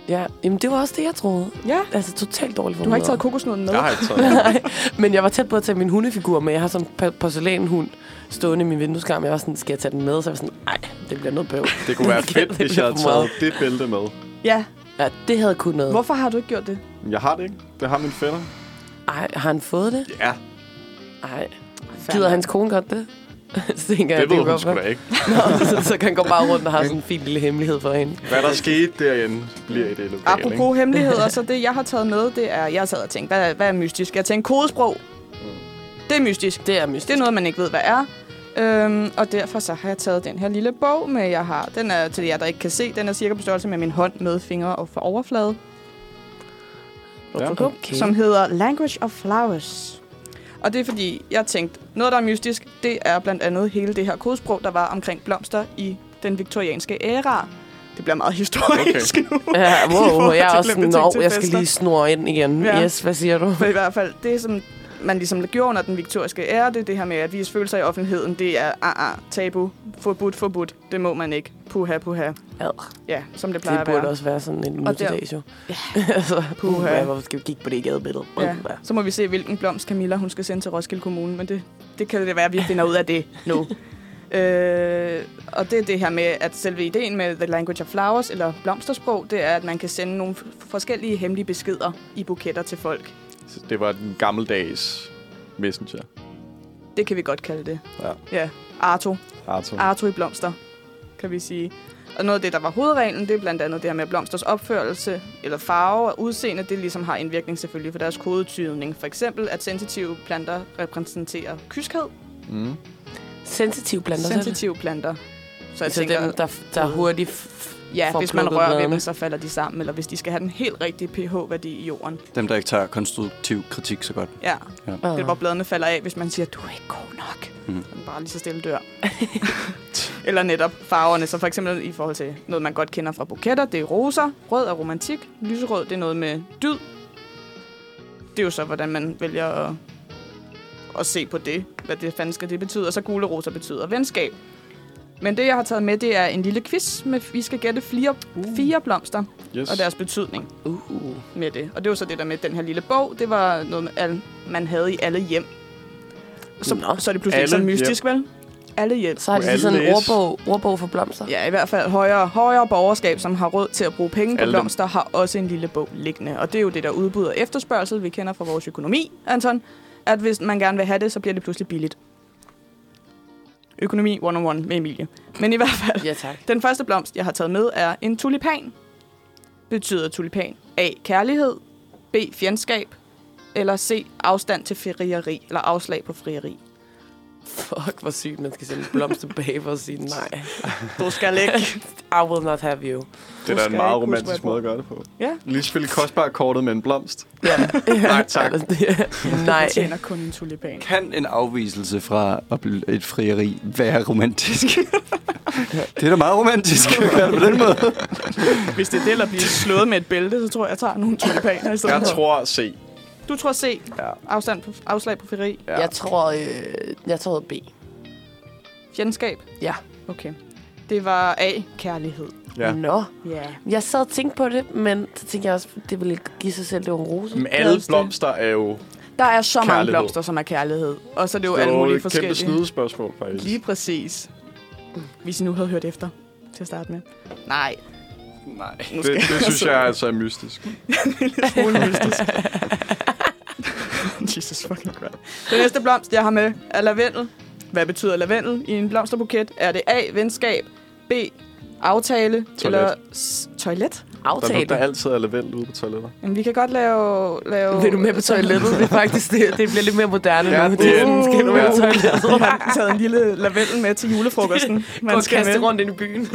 Ja, jamen det var også det, jeg troede. Ja, Altså totalt dårligt for du har ikke taget kokosnøden med. Jeg har ikke taget Men jeg var tæt på at tage min hundefigur med. Jeg har sådan en por- porcelænhund stående i min vindueskarm. Jeg var sådan, skal jeg tage den med? Så jeg var sådan, nej, det bliver noget bøv. Det kunne være Det fedt, kan- hvis jeg havde det er for taget meget. det bælte med. Ja, Ja, det havde kun noget. hvorfor har du ikke gjort det? Men Jeg har det ikke. Det har min fætter. Ej, har han fået det? Ja, Nej. Gider hans kone godt det? *laughs* så tænker det jeg, det ved hun er sgu da godt. ikke. *laughs* så, så kan han gå bare rundt og *laughs* have sådan en fin lille hemmelighed for hende. Hvad der skete derinde, bliver i det lokale, ikke? Apropos *laughs* hemmeligheder, så det, jeg har taget med, det er, jeg sad og tænkte, hvad, hvad er mystisk? Jeg tænkte kodesprog. Mm. Det er mystisk. Det er Det mystisk. er noget, man ikke ved, hvad er. Øhm, og derfor så har jeg taget den her lille bog med, jeg har. Den er til jer, der ikke kan se. Den er cirka på størrelse med min hånd med fingre og for overflade. Ja. Okay. som hedder Language of Flowers. Og det er fordi, jeg tænkte, noget der er mystisk, det er blandt andet hele det her kodesprog, der var omkring blomster i den viktorianske æra. Det bliver meget historisk okay. *laughs* nu. *laughs* Ja, I forhold wow, jeg til er også sådan, glemte ting til "Nå, jeg skal fester." lige snurre ind igen. Ja. Ja. Yes, hvad siger du? For i hvert fald, det som man ligesom gjorde under den viktoriske æra, det er det her med at vise følelser i offentligheden. Det er ah, ah, tabu, forbudt, forbudt. Det må man ikke. Puha, puha. Ad. Ja, som det plejer Det at burde være. også være sådan en Og der- multidags jo. *laughs* altså, Puha. puha. Hvorfor skal vi kigge på det i gadebilledet? Ja. Så må vi se, hvilken blomst Camilla hun skal sende til Roskilde Kommune, men det, det kan det være, at vi finder ud af det nu. øh, og det er det her med, at selve ideen med The Language of Flowers, eller blomstersprog, det er, at man kan sende nogle f- forskellige hemmelige beskeder i buketter til folk. Så Det var den gammeldags messenger. Det kan vi godt kalde det. Ja. ja. Arto. Arthur. Arto i blomster, kan vi sige. Og noget af det, der var hovedreglen, det er blandt andet det her med at blomsters opførelse, eller farve og udseende, det ligesom har indvirkning selvfølgelig for deres kodetydning. For eksempel, at sensitive planter repræsenterer kyskhed, Mm. Sensitiv blandt andet. sensitive planter. Så jeg Så tænker, Altså, dem, der, der hurtigt f- ja, får hvis man plukket rører ved dem, bladene. så falder de sammen, eller hvis de skal have den helt rigtige pH-værdi i jorden. Dem, der ikke tager konstruktiv kritik så godt. Ja, det er, Ah. hvor bladene falder af, hvis man siger, du er ikke god nok. Mm. Mhm. Den bare lige så stille dør. *laughs* eller netop farverne, så for eksempel i forhold til noget, man godt kender fra buketter, det er roser, rød er romantik, lyserød, det er noget med dyd. Det er jo så, hvordan man vælger at, at se på det, hvad det fanden skal det betyde, og så gule roser betyder venskab. Men det, jeg har taget med, det er en lille quiz, med vi skal gætte fire, uh. fire blomster Yes. og deres betydning Uh. med det. Og det var så det der med den her lille bog. Det var noget, med al, man havde i alle hjem. Så, Nå. så er det pludselig ikke så Alle mystisk, vel? Alle hjem. Så har de Kunne alle sådan en læse? ordbog, ordbog for blomster. Ja, i hvert fald højere, højere borgerskab, som har råd til at bruge penge på Alle dem. blomster, har også en lille bog liggende. Og det er jo det, der udbyder efterspørgsel, vi kender fra vores økonomi, Anton. At hvis man gerne vil have det, så bliver det pludselig billigt. Økonomi 101 med Emilie. Men i hvert fald, Ja, tak. Den første blomst, jeg har taget med, er en tulipan. Betyder tulipan A. Kærlighed, B. Fjendskab, eller C. Afstand til frieri, eller afslag på frieri. Fuck, hvor sygt, man skal sende en blomst tilbage for at sige nej. Du skal *laughs* ikke. I will not have you. det skal er da en jeg ikke huske, meget hvad romantisk jeg måde at gøre det på. Ja. Lige spille kostbar-kortet med en blomst. Ja. *laughs* Nej, tak. Altså, det- nej. Jeg tjener kun en tulipan. Kan en afviselse fra at blive et frieri være romantisk? *laughs* det er da meget romantisk at gøre det på den måde. Hvis det er det, der bliver slået med et bælte, så tror jeg, jeg tager nogle tulipaner i stedet. Jeg for. tror, se. Du tror C. Ja. Afstand på, afslag på frieri. Ja. Jeg tror, øh, jeg tror B. Fjendskab. Ja. Okay. Det var A. Kærlighed. Ja. Nå. Ja. Jeg sad og tænkte på det, men så tænkte jeg også, det ville give sig selv, det var en rose. Men alle også det. blomster er jo... Der er så mange Kærlighed. blomster, som er kærlighed. Og så er det jo Det alle er jo mulige et kæmpe forskellige. snydespørgsmål, faktisk. Lige præcis. Hvis I nu havde hørt efter til at starte med. Nej. Nej. Nu Det, det synes jeg altså er mystisk. *laughs* smule mystisk. *laughs* Jesus fucking Christ. Den næste blomst, jeg har med, er lavendel. Hvad betyder lavendel i en blomsterbuket? Er det A. Venskab, B. Aftale toilet. eller s- toilet? Der er nogen, der Aftale. altid er lavendel ude på toiletter. Jamen, vi kan godt lave... lave Vil du med på toilettet? Det er faktisk, det, det bliver lidt mere moderne Ja, nu. det er- sådan, skal du med på Ja. toilettet? Jeg har taget en lille lavendel med til julefrokosten. Man skal rundt ind i byen.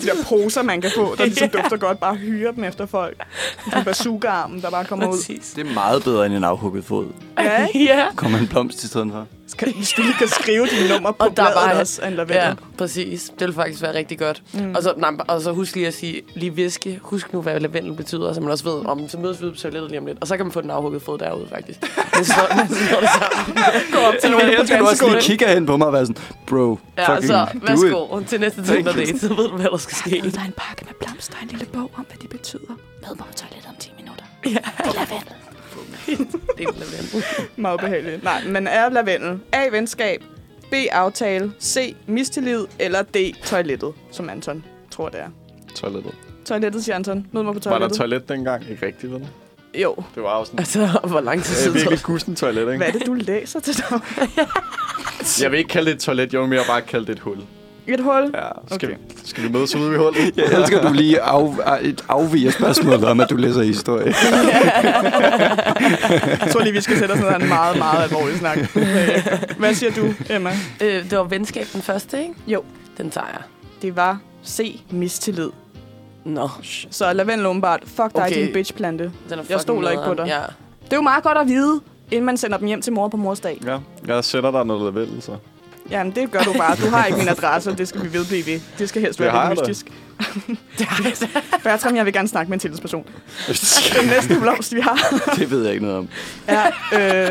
de der poser, man kan *laughs* få, der ligesom dufter godt, bare hyre dem efter folk. Sådan en bazookaarmen, der bare kommer ud. Præcis. Det er meget bedre end en afhugget fod. Ja, ikke? Ja. Kommer en blomst i stedet for. Skal, hvis du lige kan skrive dine nummer på Og der er bladet bare- også, en lavendel. Ja, præcis. Det vil faktisk være rigtig godt. Mm. Og, så, nej, og så husk lige at sige, lige viske. Husk nu, hvad lavendel betyder, så man også ved, om så mødes vi på toilettet lige om lidt. Og så kan man få den afhugget fod derude, *laughs* faktisk. Men så, men så står det sammen. Gå op til *laughs* nogen Jeg skal også lige kigge hen på mig og være sådan, bro, Ja, fucking så do it. værsgo til næste Tinder date, så ved du, hvad der skal ske. Der er en pakke med blomster og en lille bog om, hvad de betyder. Med på toilettet om 10 minutter. Ja. Det er lavendel. *laughs* Det er lavendel. Meget ubehageligt. Nej, men er lavendel A. Venskab, B. Aftale, C. Mistillid eller D. Toilettet, som Anton tror, det er. Toilettet. Toilettet, siger Anton. Mød mig på Var der toilettet. toilet dengang? Ikke rigtigt, vel? jo. Det var jo sådan Altså, hvor lang tid øh, siden tror virkelig du? gussen toilet, Hvad ikke? er det, du læser til dig? Jeg vil ikke kalde det et toilet, jeg vil mere bare kalde det et hul. Et hul? Ja, skal, Okay. okay. skal vi mødes ude ved *laughs* hullet? Jeg elsker, at du lige af, et afviger spørgsmålet om, at du læser historie. Jeg tror lige, vi skal sætte os ned og have en meget, meget alvorlig snak. Hvad siger du, Emma? *laughs* Øh, det var venskab den første, ikke? Jo. Den tager jeg. Det var C. Mistillid. Nå, Så lavendel åbenbart. Fuck dig, Okay. din bitchplante. den er Jeg stoler ikke på fucking dig. nederen. Det er jo meget godt at vide, inden man sender dem hjem til mor på morsdag. Ja, jeg sætter dig noget lavendel, så. Jamen, det gør du bare. Du har ikke min adresse, og det skal vi vedblive ved. Det skal helst Det være har lidt jeg da. mystisk. Bertram, jeg vil gerne snakke med en tillidsperson. Den næste blomst, vi har, *laughs* Det ved jeg ikke noget om. er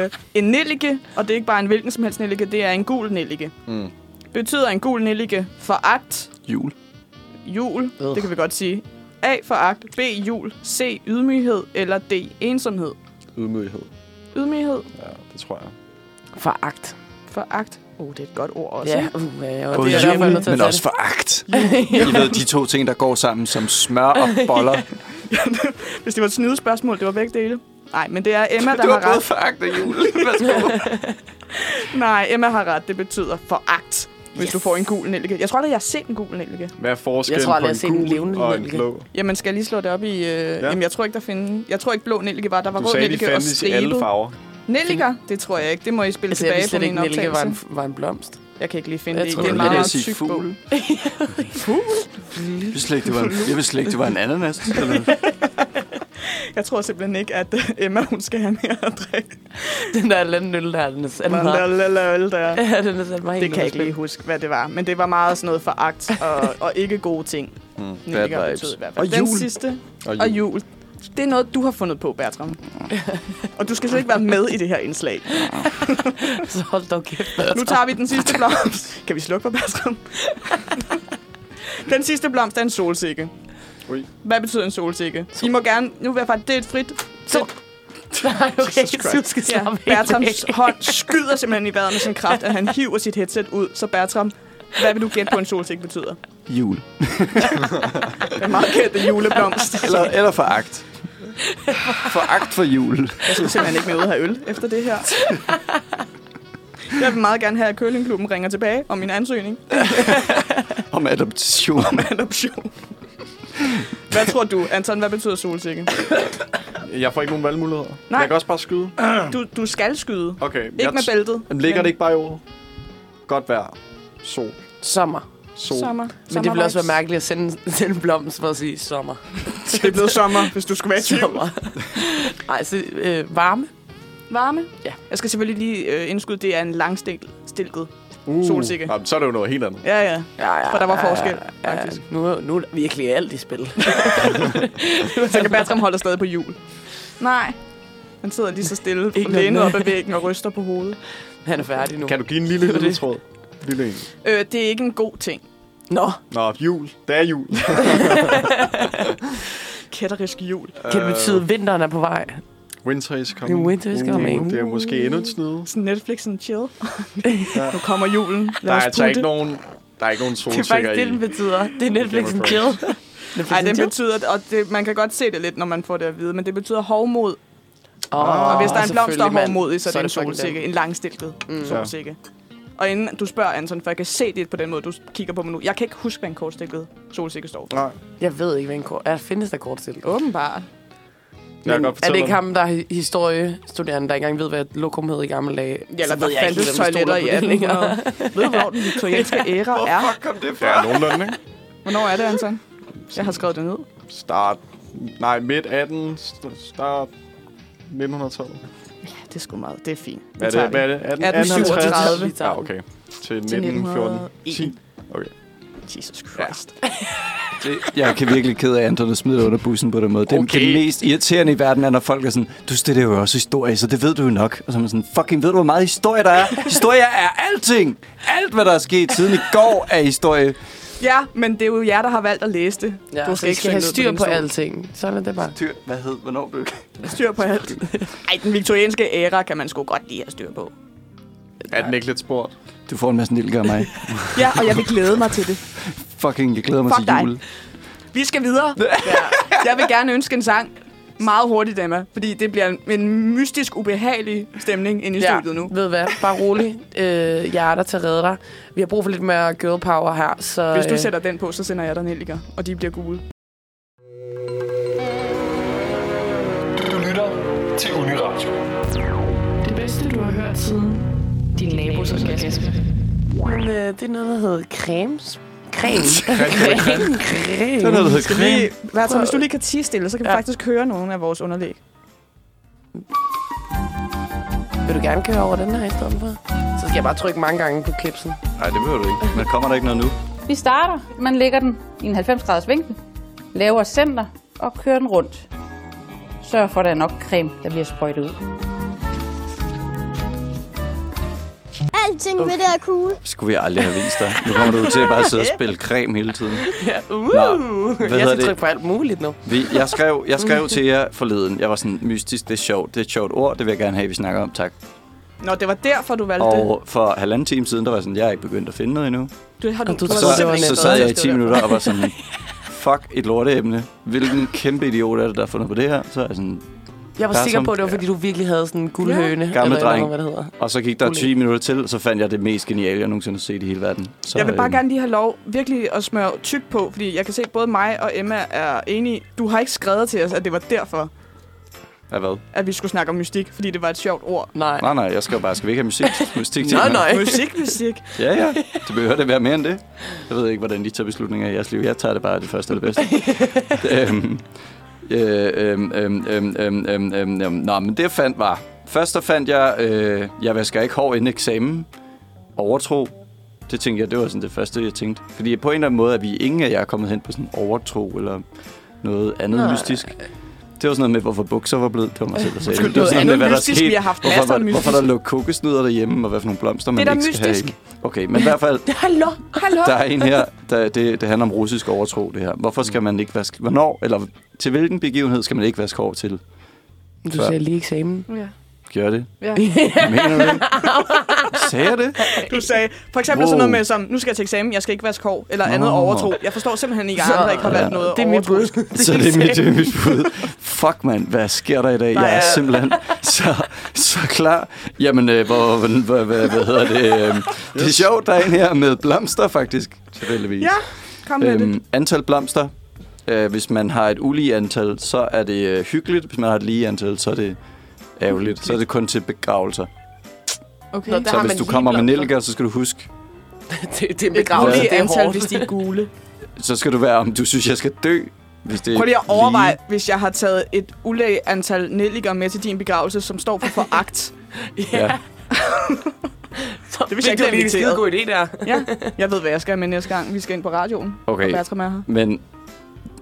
øh, en nellike, og det er ikke bare en hvilken som helst nellike, det er en gul nellike. Mm. Betyder en gul nellike foragt, Jul. jul, det kan vi godt sige. A. Foragt, B. Jul, C. Ydmyghed, eller D. Ensomhed. Ydmyghed. Ydmyghed, Ja, det tror jeg. Ja, foragt. foragt. Oh, det er et godt ord også. Ja, ikke? uh, ja, og Både det er derfor, jeg er nødt jul, til at men tage også det. foragt. I ved, de to ting, der går sammen som smør *laughs* og boller. Hvis det var et snydespørgsmål, det var begge dele. Nej, men det er Emma, der Du har har ret. både foragt og jul. Værsgo. *laughs* Nej, Emma har ret. Det betyder foragt, hvis yes. du får en gul nellike. Jeg tror aldrig, jeg har set en gul nellike. Hvad er forskellen Jeg tror aldrig, jeg har på set en en gul levende og en nellike. blå? Jamen, skal jeg lige slå det op i... Øh... Ja. Jamen, jeg tror ikke, der findes... Jeg tror ikke, blå nellike var. Der var Du rød sagde, de nellike og fandtes i alle stribet. farver. Nelliker? Det tror jeg ikke. Det må I spille Altså, jeg tilbage vidste på slet min ikke, Nelke optagelse. var en, var en blomst. Jeg kan ikke lige finde Jeg det. tror, det er en meget, det var meget lidt at sige tyk bog. fugl. Jeg vidste slet ikke, det var en, jeg vidste slet ikke, det var en ananas. Eller, *laughs* Jeg tror simpelthen ikke, at øh, Emma hun skal have mere at drikke. *laughs* Den der lande øl der, den er sat Hvad mig. der lille øl der. *laughs* Ja, den er sat mig helt Det kan jeg ikke lige huske, hvad det var. Men det var meget sådan noget foragt *laughs* og, og ikke gode ting. Mm, Hmm, bad vibes. i hvert fald. Og Den jul. sidste. Og Og jul. Det er noget, du har fundet på, Bertram. og du skal slet ikke være med i det her indslag. Så hold dog *laughs* kæft. Nu tager vi den sidste *laughs* blomst. Kan vi slukke for Bertram? den sidste blomst er en solsikke. Ui. Hvad betyder en solsikke? I må gerne... Nu vil jeg faktisk... Det er et frit... Sol. Nej, okay, du skal Ja, slappe ja, Bertrams hånd skyder simpelthen i vejret med sin kraft, at han hiver sit headset ud. Så Bertram, hvad vil du gætte på, en solsikke betyder? jul. Den meget kendte juleblomst. Altså- Eller, eller foragt. Foragt for jul. Jeg skulle simpelthen ikke med ud og have øl efter det her. Jeg vil meget gerne have, at Køllingklubben ringer tilbage om min ansøgning Om adoption. om adoption. Hvad tror du, Anton, hvad betyder solsikke? *laughs* Jeg får ikke nogen valgmuligheder. Nej. Jeg kan også bare skyde. Øh, Du, du skal skyde. Okay. Ikke med bæltet. Jamen, ligger men- det ikke bare i ordet? Godt vejr. Sol. Sommer. Sol. Sommer. Men det ville også være mærkeligt at sende, *laughs* sende en blomst for at sige sommer. mærkeligt. Det er blevet sommer, hvis du skulle være i tvivl. *laughs* Sommer. Nej, så øh, varme. Varme? Ja. Jeg skal selvfølgelig lige øh, indskyde, det er en langstilket. Uh. Solsikke. Jamen, så er det jo noget helt andet. Ja, *laughs* ja. Ja, ja, For der var ja, forskel, ja, faktisk. Ja, nu, nu er der virkelig alt i spil. Så kan Bertram holde stadig på jul. Nej. Han sidder lige så stille Ikke og lænet noget. op ad væggen og ryster på hovedet. *laughs* Han er færdig nu. Kan du give en lille Det var det. ledetråd? Lille en. Øh, det er ikke en god ting. Nå, Nå, jul. Det er jul. Kætterisk jul. kan det betyde, at vinteren er på vej? Øh, Winter is coming. Mm. The winter is coming. Det er måske endnu et snide. Sådan Netflix and *laughs* chill. nu kommer julen. Der Lad er os altså putte. ikke nogen, der er ikke nogen Det er solsikker faktisk det, i. den betyder. Det er Netflix Game and of chill. Thrones. Ej, den betyder... betyder, og det, man kan godt se det lidt, når man får det at vide, men det betyder hovmod. Oh, Og hvis der er en blomst, der er hovmodig, så, så er det en fucking den. solsikke. En langstilket mm. solsikke. Og inden du spørger, Anton, for jeg kan se det på den måde, du kigger på mig nu. Jeg kan ikke huske, hvad en kortstilket solsikke står for. Nej, Jeg ved ikke, hvad en kort... Er, findes der kortstillet? Åbenbart. jeg kan Men godt er fortælle det ikke dig. ham, der er historiestuderende, der ikke engang ved, hvad lokum hed i gamle dage? Ja, eller der fandtes toiletter i *laughs* 1800. Ved du, hvornår den viktorianske æra er? Ja, nogenlunde, ikke? Hvornår er det, Anton? Jeg har skrevet det ned. Start... Nej, midt 18... st- Start... 1900-tallet. Ja, det er sgu meget. Det er fint. Vi Hvad er tager det? Hvad er det? 18, 1837. Ja, Ah, okay. Til Til 1914. 1914. Okay. Jesus Christ. Jeg kan virkelig ked af, at Anton er smidt under bussen på den måde. Det, okay. Okay. det mest irriterende i verden er, når folk er sådan, du studerer jo også historie, så det ved du jo nok. Og så er man sådan, fucking ved du, hvor meget historie der er? Historie er alting! Alt, hvad der er sket siden i går, er historie. Ja. ja, men det er jo jer, der har valgt at læse det. Ja, du skal, skal slynge have det ud styr din på stol. alting. Sådan er det bare. Dyr, hvad hed, hvornår blev det? Styr på *laughs* alt. Ej, den viktorianske æra kan man sgu godt lige have styr på. Er den ikke lidt spurgt? Du får en masse nilker af mig. Ja, og jeg vil glæde mig til det. Fucking, jeg glæder mig Fuck til dig. jul. Vi skal videre. *laughs* Jeg vil gerne ønske en sang meget hurtigt, Emma. Fordi det bliver en- en mystisk, ubehagelig stemning inde i ja. studiet nu. Ved du hvad? Bare rolig. Øh, jeg er der til at redde dig. Vi har brug for lidt mere girl power her. Så, Hvis du øh, sætter den på, så sender jeg dig Nelliker, og de bliver gule. Du lytter til Uniradio. Det bedste, du har hørt siden din nabos orgasme. Men, øh, det er noget, der hedder cremes. Creme. *laughs* Creme. Creme. Det er noget, der hedder Lige, krim. Værtsson, hvis du lige kan tige stille, så kan ja. vi Ja. faktisk høre nogle af vores underlæg. Vil du gerne køre over den her i stedet for? Så skal jeg bare trykke mange gange på klipsen. Nej, det behøver du ikke. Men kommer der ikke noget nu? Vi starter, man lægger den i en 90-graders vinkel, laver center og kører den rundt. Sørg for, at der er nok creme, der bliver sprøjtet ud. Alting ved det er cool. Skulle vi aldrig have vist dig. Nu kommer du til at bare sidde og spille creme hele tiden. Ja, uh. Nå, hvad jeg hedder skal det? trykke på alt muligt nu. Vi, jeg, skrev, jeg skrev til jer forleden. Jeg var sådan, mystisk, det er sjovt. Det er et sjovt ord, det vil jeg gerne have, vi snakker om. Tak. Nå, det var derfor, du valgte det. Og for halvanden time siden, der var jeg sådan, jeg er ikke begyndt at finde noget endnu. Du har du, Og du du tror, har det var simpelthen Så, ikke netop så sad noget jeg i at 10 skrive minutter og var sådan, fuck et lorteemne. Hvilken kæmpe idiot er det, der har fundet på det her? Så er jeg sådan, Jeg var Der er sikker som- på, at det var, fordi du virkelig havde sådan en guldhøne. Ja. Gammel dreng. Hvad det hedder. og så gik der Ulækkert. 20 minutter til, og så fandt jeg det mest geniale, jeg nogensinde har set i hele verden. Så, Jeg vil bare øhm, gerne lige have lov virkelig at smøre tyk på, fordi jeg kan se, at både mig og Emma er enige. Du har ikke skrevet til os, at det var derfor, Ja, hvad? at vi skulle snakke om mystik, fordi det var et sjovt ord. Nej. Nej, nej, jeg skal jo bare, skal vi ikke have musik? *laughs* musik til Nej, den her? nej. Musik, musik. Ja, ja. Det behøver det være mere end det. Jeg ved ikke, hvordan de tager beslutninger i jeres liv. Jeg tager det bare det første eller *laughs* bedste. øhm, øh, øhm, øhm, øhm, øhm, øhm, øhm, øhm. Nå, men det jeg fandt var... Først der fandt jeg, øh, jeg vasker ikke hår inden eksamen. Overtro. Det tænkte jeg, det var sådan det første, jeg tænkte. Fordi på en eller anden måde er vi ingen af jer kommet hen på sådan overtro eller noget andet Nej. Nej. mystisk. Det var sådan noget med, hvorfor bukser var blevet. Det var mig selv, der sagde det. Undskyld, Det var noget sådan noget med, andet hvad der mystisk. Vi skete. har haft Hvorfor, masser af var- hvorfor mystisk. der lå kokosnødder derhjemme, og hvad for nogle blomster, man da ikke skal have mystisk. i. Okay, men i hvert fald, *laughs* Hallo, hallo. der er en her, der, det, det handler om russisk overtro, det her. Hvorfor skal man ikke vaske... Hvornår, eller til hvilken begivenhed skal man ikke vaske hår til? Du ser lige eksamen. Ja. Gør det? *laughs* Ja. Mener du det? Sagde jeg det? Du sagde for eksempel wow. Wow. sådan noget med som, nu skal jeg til eksamen, jeg skal ikke vaske hår, eller andet Nå. overtro. Jeg forstår simpelthen ikke, at andre ikke har valgt noget *laughs* Det er mit bud. overtroisk. Så det er mit, det er mit bud. Fuck, mand. Hvad sker der i dag? Jeg er er- simpelthen så, så klar. Jamen, øh, hvor, hvor, hvor, hvad, hvad hedder det? Øh, det er sjovt, der er en her med blomster, faktisk. Tilfældigvis. Ja, kom med det. Øhm, antal blomster. Øh, hvis man har et ulige antal, så er det øh, hyggeligt. Hvis man har et lige antal, så er det ærgerligt. Så er det kun til begravelser. Okay. Nå, Nå, der- Så har hvis man du lige kommer med blomster. nælker, så skal du *laughs* huske. det, det er en et begravelse, ulige det er antal, hårdt. hvis *laughs* de er gule. Så skal du være, om du synes, jeg skal dø. Hvis det er Prøv lige at lige- overveje, hvis jeg har taget et ulæg antal nelliker med til din begravelse, som står for foragt. Ja. Det vidste jeg ikke, det var en skide god idé der. Ja, jeg ved, hvad jeg skal med næste gang. Vi skal ind på radioen. Og Okay, Bertram er her. men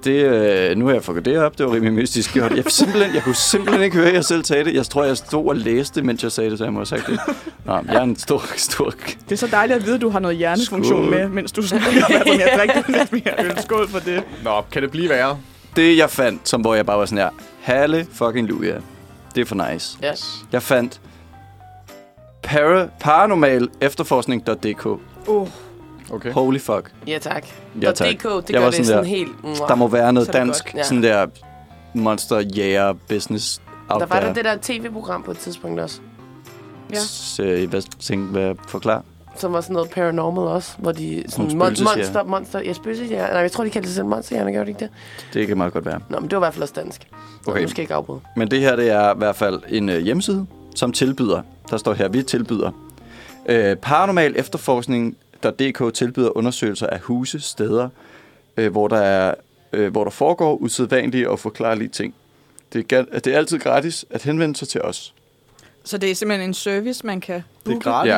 det, øh, nu har jeg fucket det op. Det var rimelig mystisk gjort. Jeg, simpelthen, jeg kunne simpelthen ikke høre, at jeg selv sagde det. Jeg tror, jeg stod og læste, mens jeg sagde det, så jeg må have sagt det. Nå, jeg er en stor, stor Det er så dejligt at vide, at du har noget hjernefunktion Skål. med, mens du snakker med, at jeg drikker lidt mere øl. Skål for det. Nå, kan det blive værre? Det jeg fandt, som hvor jeg bare var sådan her, halle fucking luja. Det er for nice. Ja. Jeg fandt para, paranormalefterforskning.dk. Uh, Okay. Holy fuck. *laughs* Ja, tak. Ja, Og tak. DK, det Jeg gør var det sådan sådan der, helt... Mwah. Der må være noget Så er det dansk, godt, ja. sådan der monster jæger business out Der var der there. det der tv-program på et tidspunkt også, ja. Så jeg bare tænkte, hvad jeg forklarer. som var sådan noget paranormal også, hvor de sådan mon- Nogle spøgelsesjæger. monster, monster, ja, spøgelsesjæger. Nej, jeg tror, de kaldte det selv monsterhjerne, gør de ikke det? Det kan meget godt være. Nå, men det var i hvert fald også dansk. Nå, Okay. Nu skal jeg ikke afbryde. Men det her, det er i hvert fald en øh, hjemmeside, som tilbyder, der står her, vi tilbyder, øh, paranormal efterforskning, der DK tilbyder undersøgelser af huse, steder, øh, hvor der er øh, hvor der foregår usædvanlige og forklarlige ting. Det er, ga- det er altid gratis at henvende sig til os. Så det er simpelthen en service, man kan booke? Ja,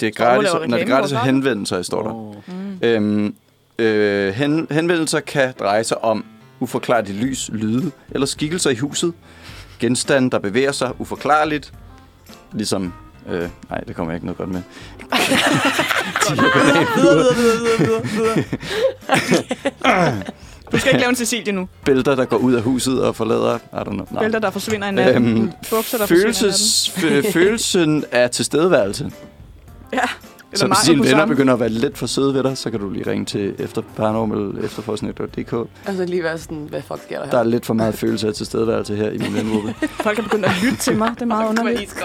det er Så overlever gratis, når det er reklamen gratis vores navn. at henvende sig, står der. Oh. Mm. Øhm, øh, hen, henvendelser kan dreje sig om uforklarligt lys, lyde eller skikkelser i huset. Genstande, der bevæger sig uforklarligt. Ligesom... Øh, nej, det kommer jeg ikke noget godt med. Videre, videre, videre, videre, videre, videre. *laughs* Du skal ikke lave en Cecilie nu. Bælter, der går ud af huset og forlader... I don't know. Nej. Bælter, der forsvinder i natten. Øhm, Bukser, der Følelses, forsvinder i natten. fø- følelsen af tilstedeværelse. Ja. Så hvis Marco dine venner Busam. begynder at være lidt for søde ved dig, så kan du lige ringe til efter paranormal efterforskning.dk. Altså lige være sådan, hvad fuck sker der her? Der er lidt for meget følelse af tilstedeværelse her i min vengruppe. Folk er begyndt at lytte til mig. Det er meget underligt.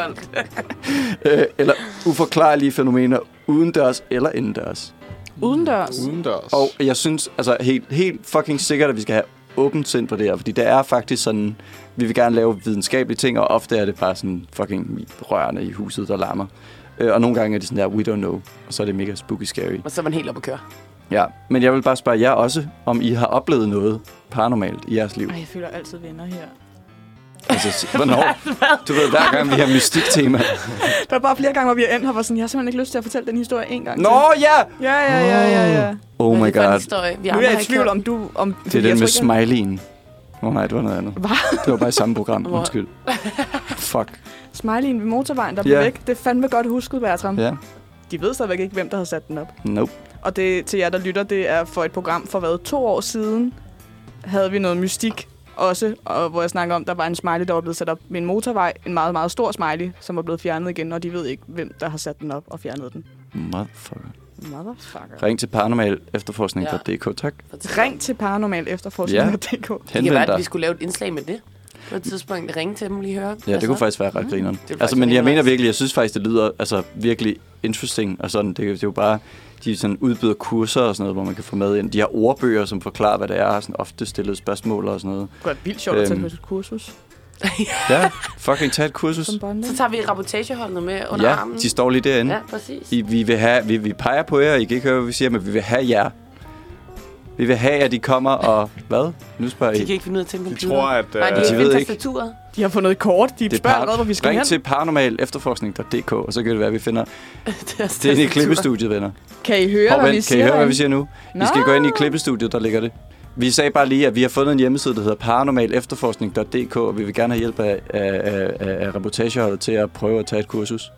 Øh, eller uforklarlige fænomener udendørs eller indendørs. Udendørs. Udendørs. Og jeg synes altså helt, helt fucking sikkert, at vi skal have åbent sind på det her, fordi det er faktisk sådan, vi vil gerne lave videnskabelige ting, og ofte er det bare sådan fucking rørene i huset, der larmer. Øh, og nogle gange er det sådan der, we don't know, og så er det mega spooky scary. Og så er man helt oppe at køre. Oh Ja, men jeg vil bare spørge jer også, om I har oplevet noget paranormalt i jeres liv. Ej, jeg føler altid venner her. Altså, s- hvornår? Du ved, hver gang vi har mystiktema. Der er bare flere gange, hvor vi er endt her, hvor sådan, jeg har simpelthen ikke lyst til at fortælle den historie en gang Nå, til. ja! Ja, ja, ja, ja, ja. Oh my god. Vi nu er jeg i tvivl om du... Om, Det er den med smileyen. Nå nej, det var noget andet. Hvad? Det var bare i samme program, Hvor- undskyld. Fuck. Smiley'en ved motorvejen, der blev Ja. væk. Det er fandme godt husket, Bertram. Ja. De ved stadigvæk ikke, hvem der har sat den op. Nope. Og det til jer, der lytter, det er for et program for hvad, to år siden, havde vi noget mystik også, og hvor jeg snakker om, der var en smiley, der var blevet sat op ved en motorvej. En meget, meget stor smiley, som var blevet fjernet igen, og de ved ikke, hvem der har sat den op og fjernet den. Motherfucker. Motherfucker. Ring til paranormalefterforskning.dk, tak. Ring til paranormal efterforskning.dk. Ja. Det kan være, dig. at vi skulle lave et indslag med det. På et tidspunkt ringe til dem lige høre. Ja, det kunne faktisk være ret grineren. Altså, men jeg mener virkelig, jeg synes faktisk, det lyder altså, virkelig interesting og sådan. Det, det er jo bare, de sådan udbyder kurser og sådan noget, hvor man kan få med ind. De har ordbøger, som forklarer, hvad det er, og har sådan ofte stillet spørgsmål og sådan noget. Det kunne være vildt sjovt at tage Øhm. på et kursus. Ja, fucking tag et kursus. Så tager vi rapportageholdene med under ja, armen. de står lige derinde. Ja, præcis. I, vi, vil have, vi, vi peger på jer, I kan ikke høre, hvad vi siger, men vi vil have jer. Vi vil have, at I kommer og... Hvad? Nu spørger I. De kan ikke finde ud af at tænke på De tror, at, Nej, øh, de, De de ved ved ikke. *laughs* ikke. De har fundet et kort. De Det er spørger par- allerede, hvor vi skal Ring hen. til paranormalefterforskning.dk, og så kan det være, at vi finder... det er, Det er inde i klippestudiet, venner. Kan I høre, Prøv at hvad vi vent, kan I siger? høre, hvad vi derinde? siger nu? Nå. I skal gå ind i klippestudiet, der ligger det. Vi sagde bare lige, at vi har fundet en hjemmeside, der hedder paranormalefterforskning.dk, og vi vil gerne have hjælp af, af, af, af reportageholdet til at prøve at tage et kursus.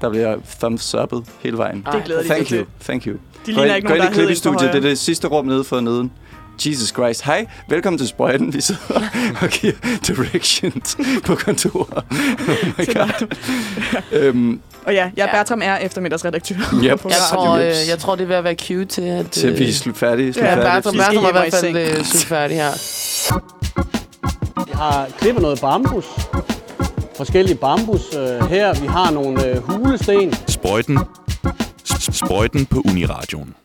Der bliver thumbs up'et hele vejen. Det glæder de sig Thank you. til. Thank you. De gå ligner ind, ikke gå nogen, ind der i er hævet ind fra klippestudiet, det er højre. det sidste rum nede for neden. Jesus Christ. Hej, velkommen til Sprøjten. Vi sidder og giver directions på kontoret. Oh my god. øhm, Og ja, jeg er Bertram er eftermiddagsredaktør. Yep. På Jeg Radio tror, Lips. øh, jeg tror, det er ved at være cue til, at... til vi er slut færdige. Slut Ja, færdige. Bertram, Vi skal Bertram er i hjem og hvert fald seng. øh, slut færdig her. Jeg har klippet noget bambus. Forskellige bambus øh, her. Vi har nogle øh, hulesten. Sprøjten. S- Sprøjten på Uniradioen.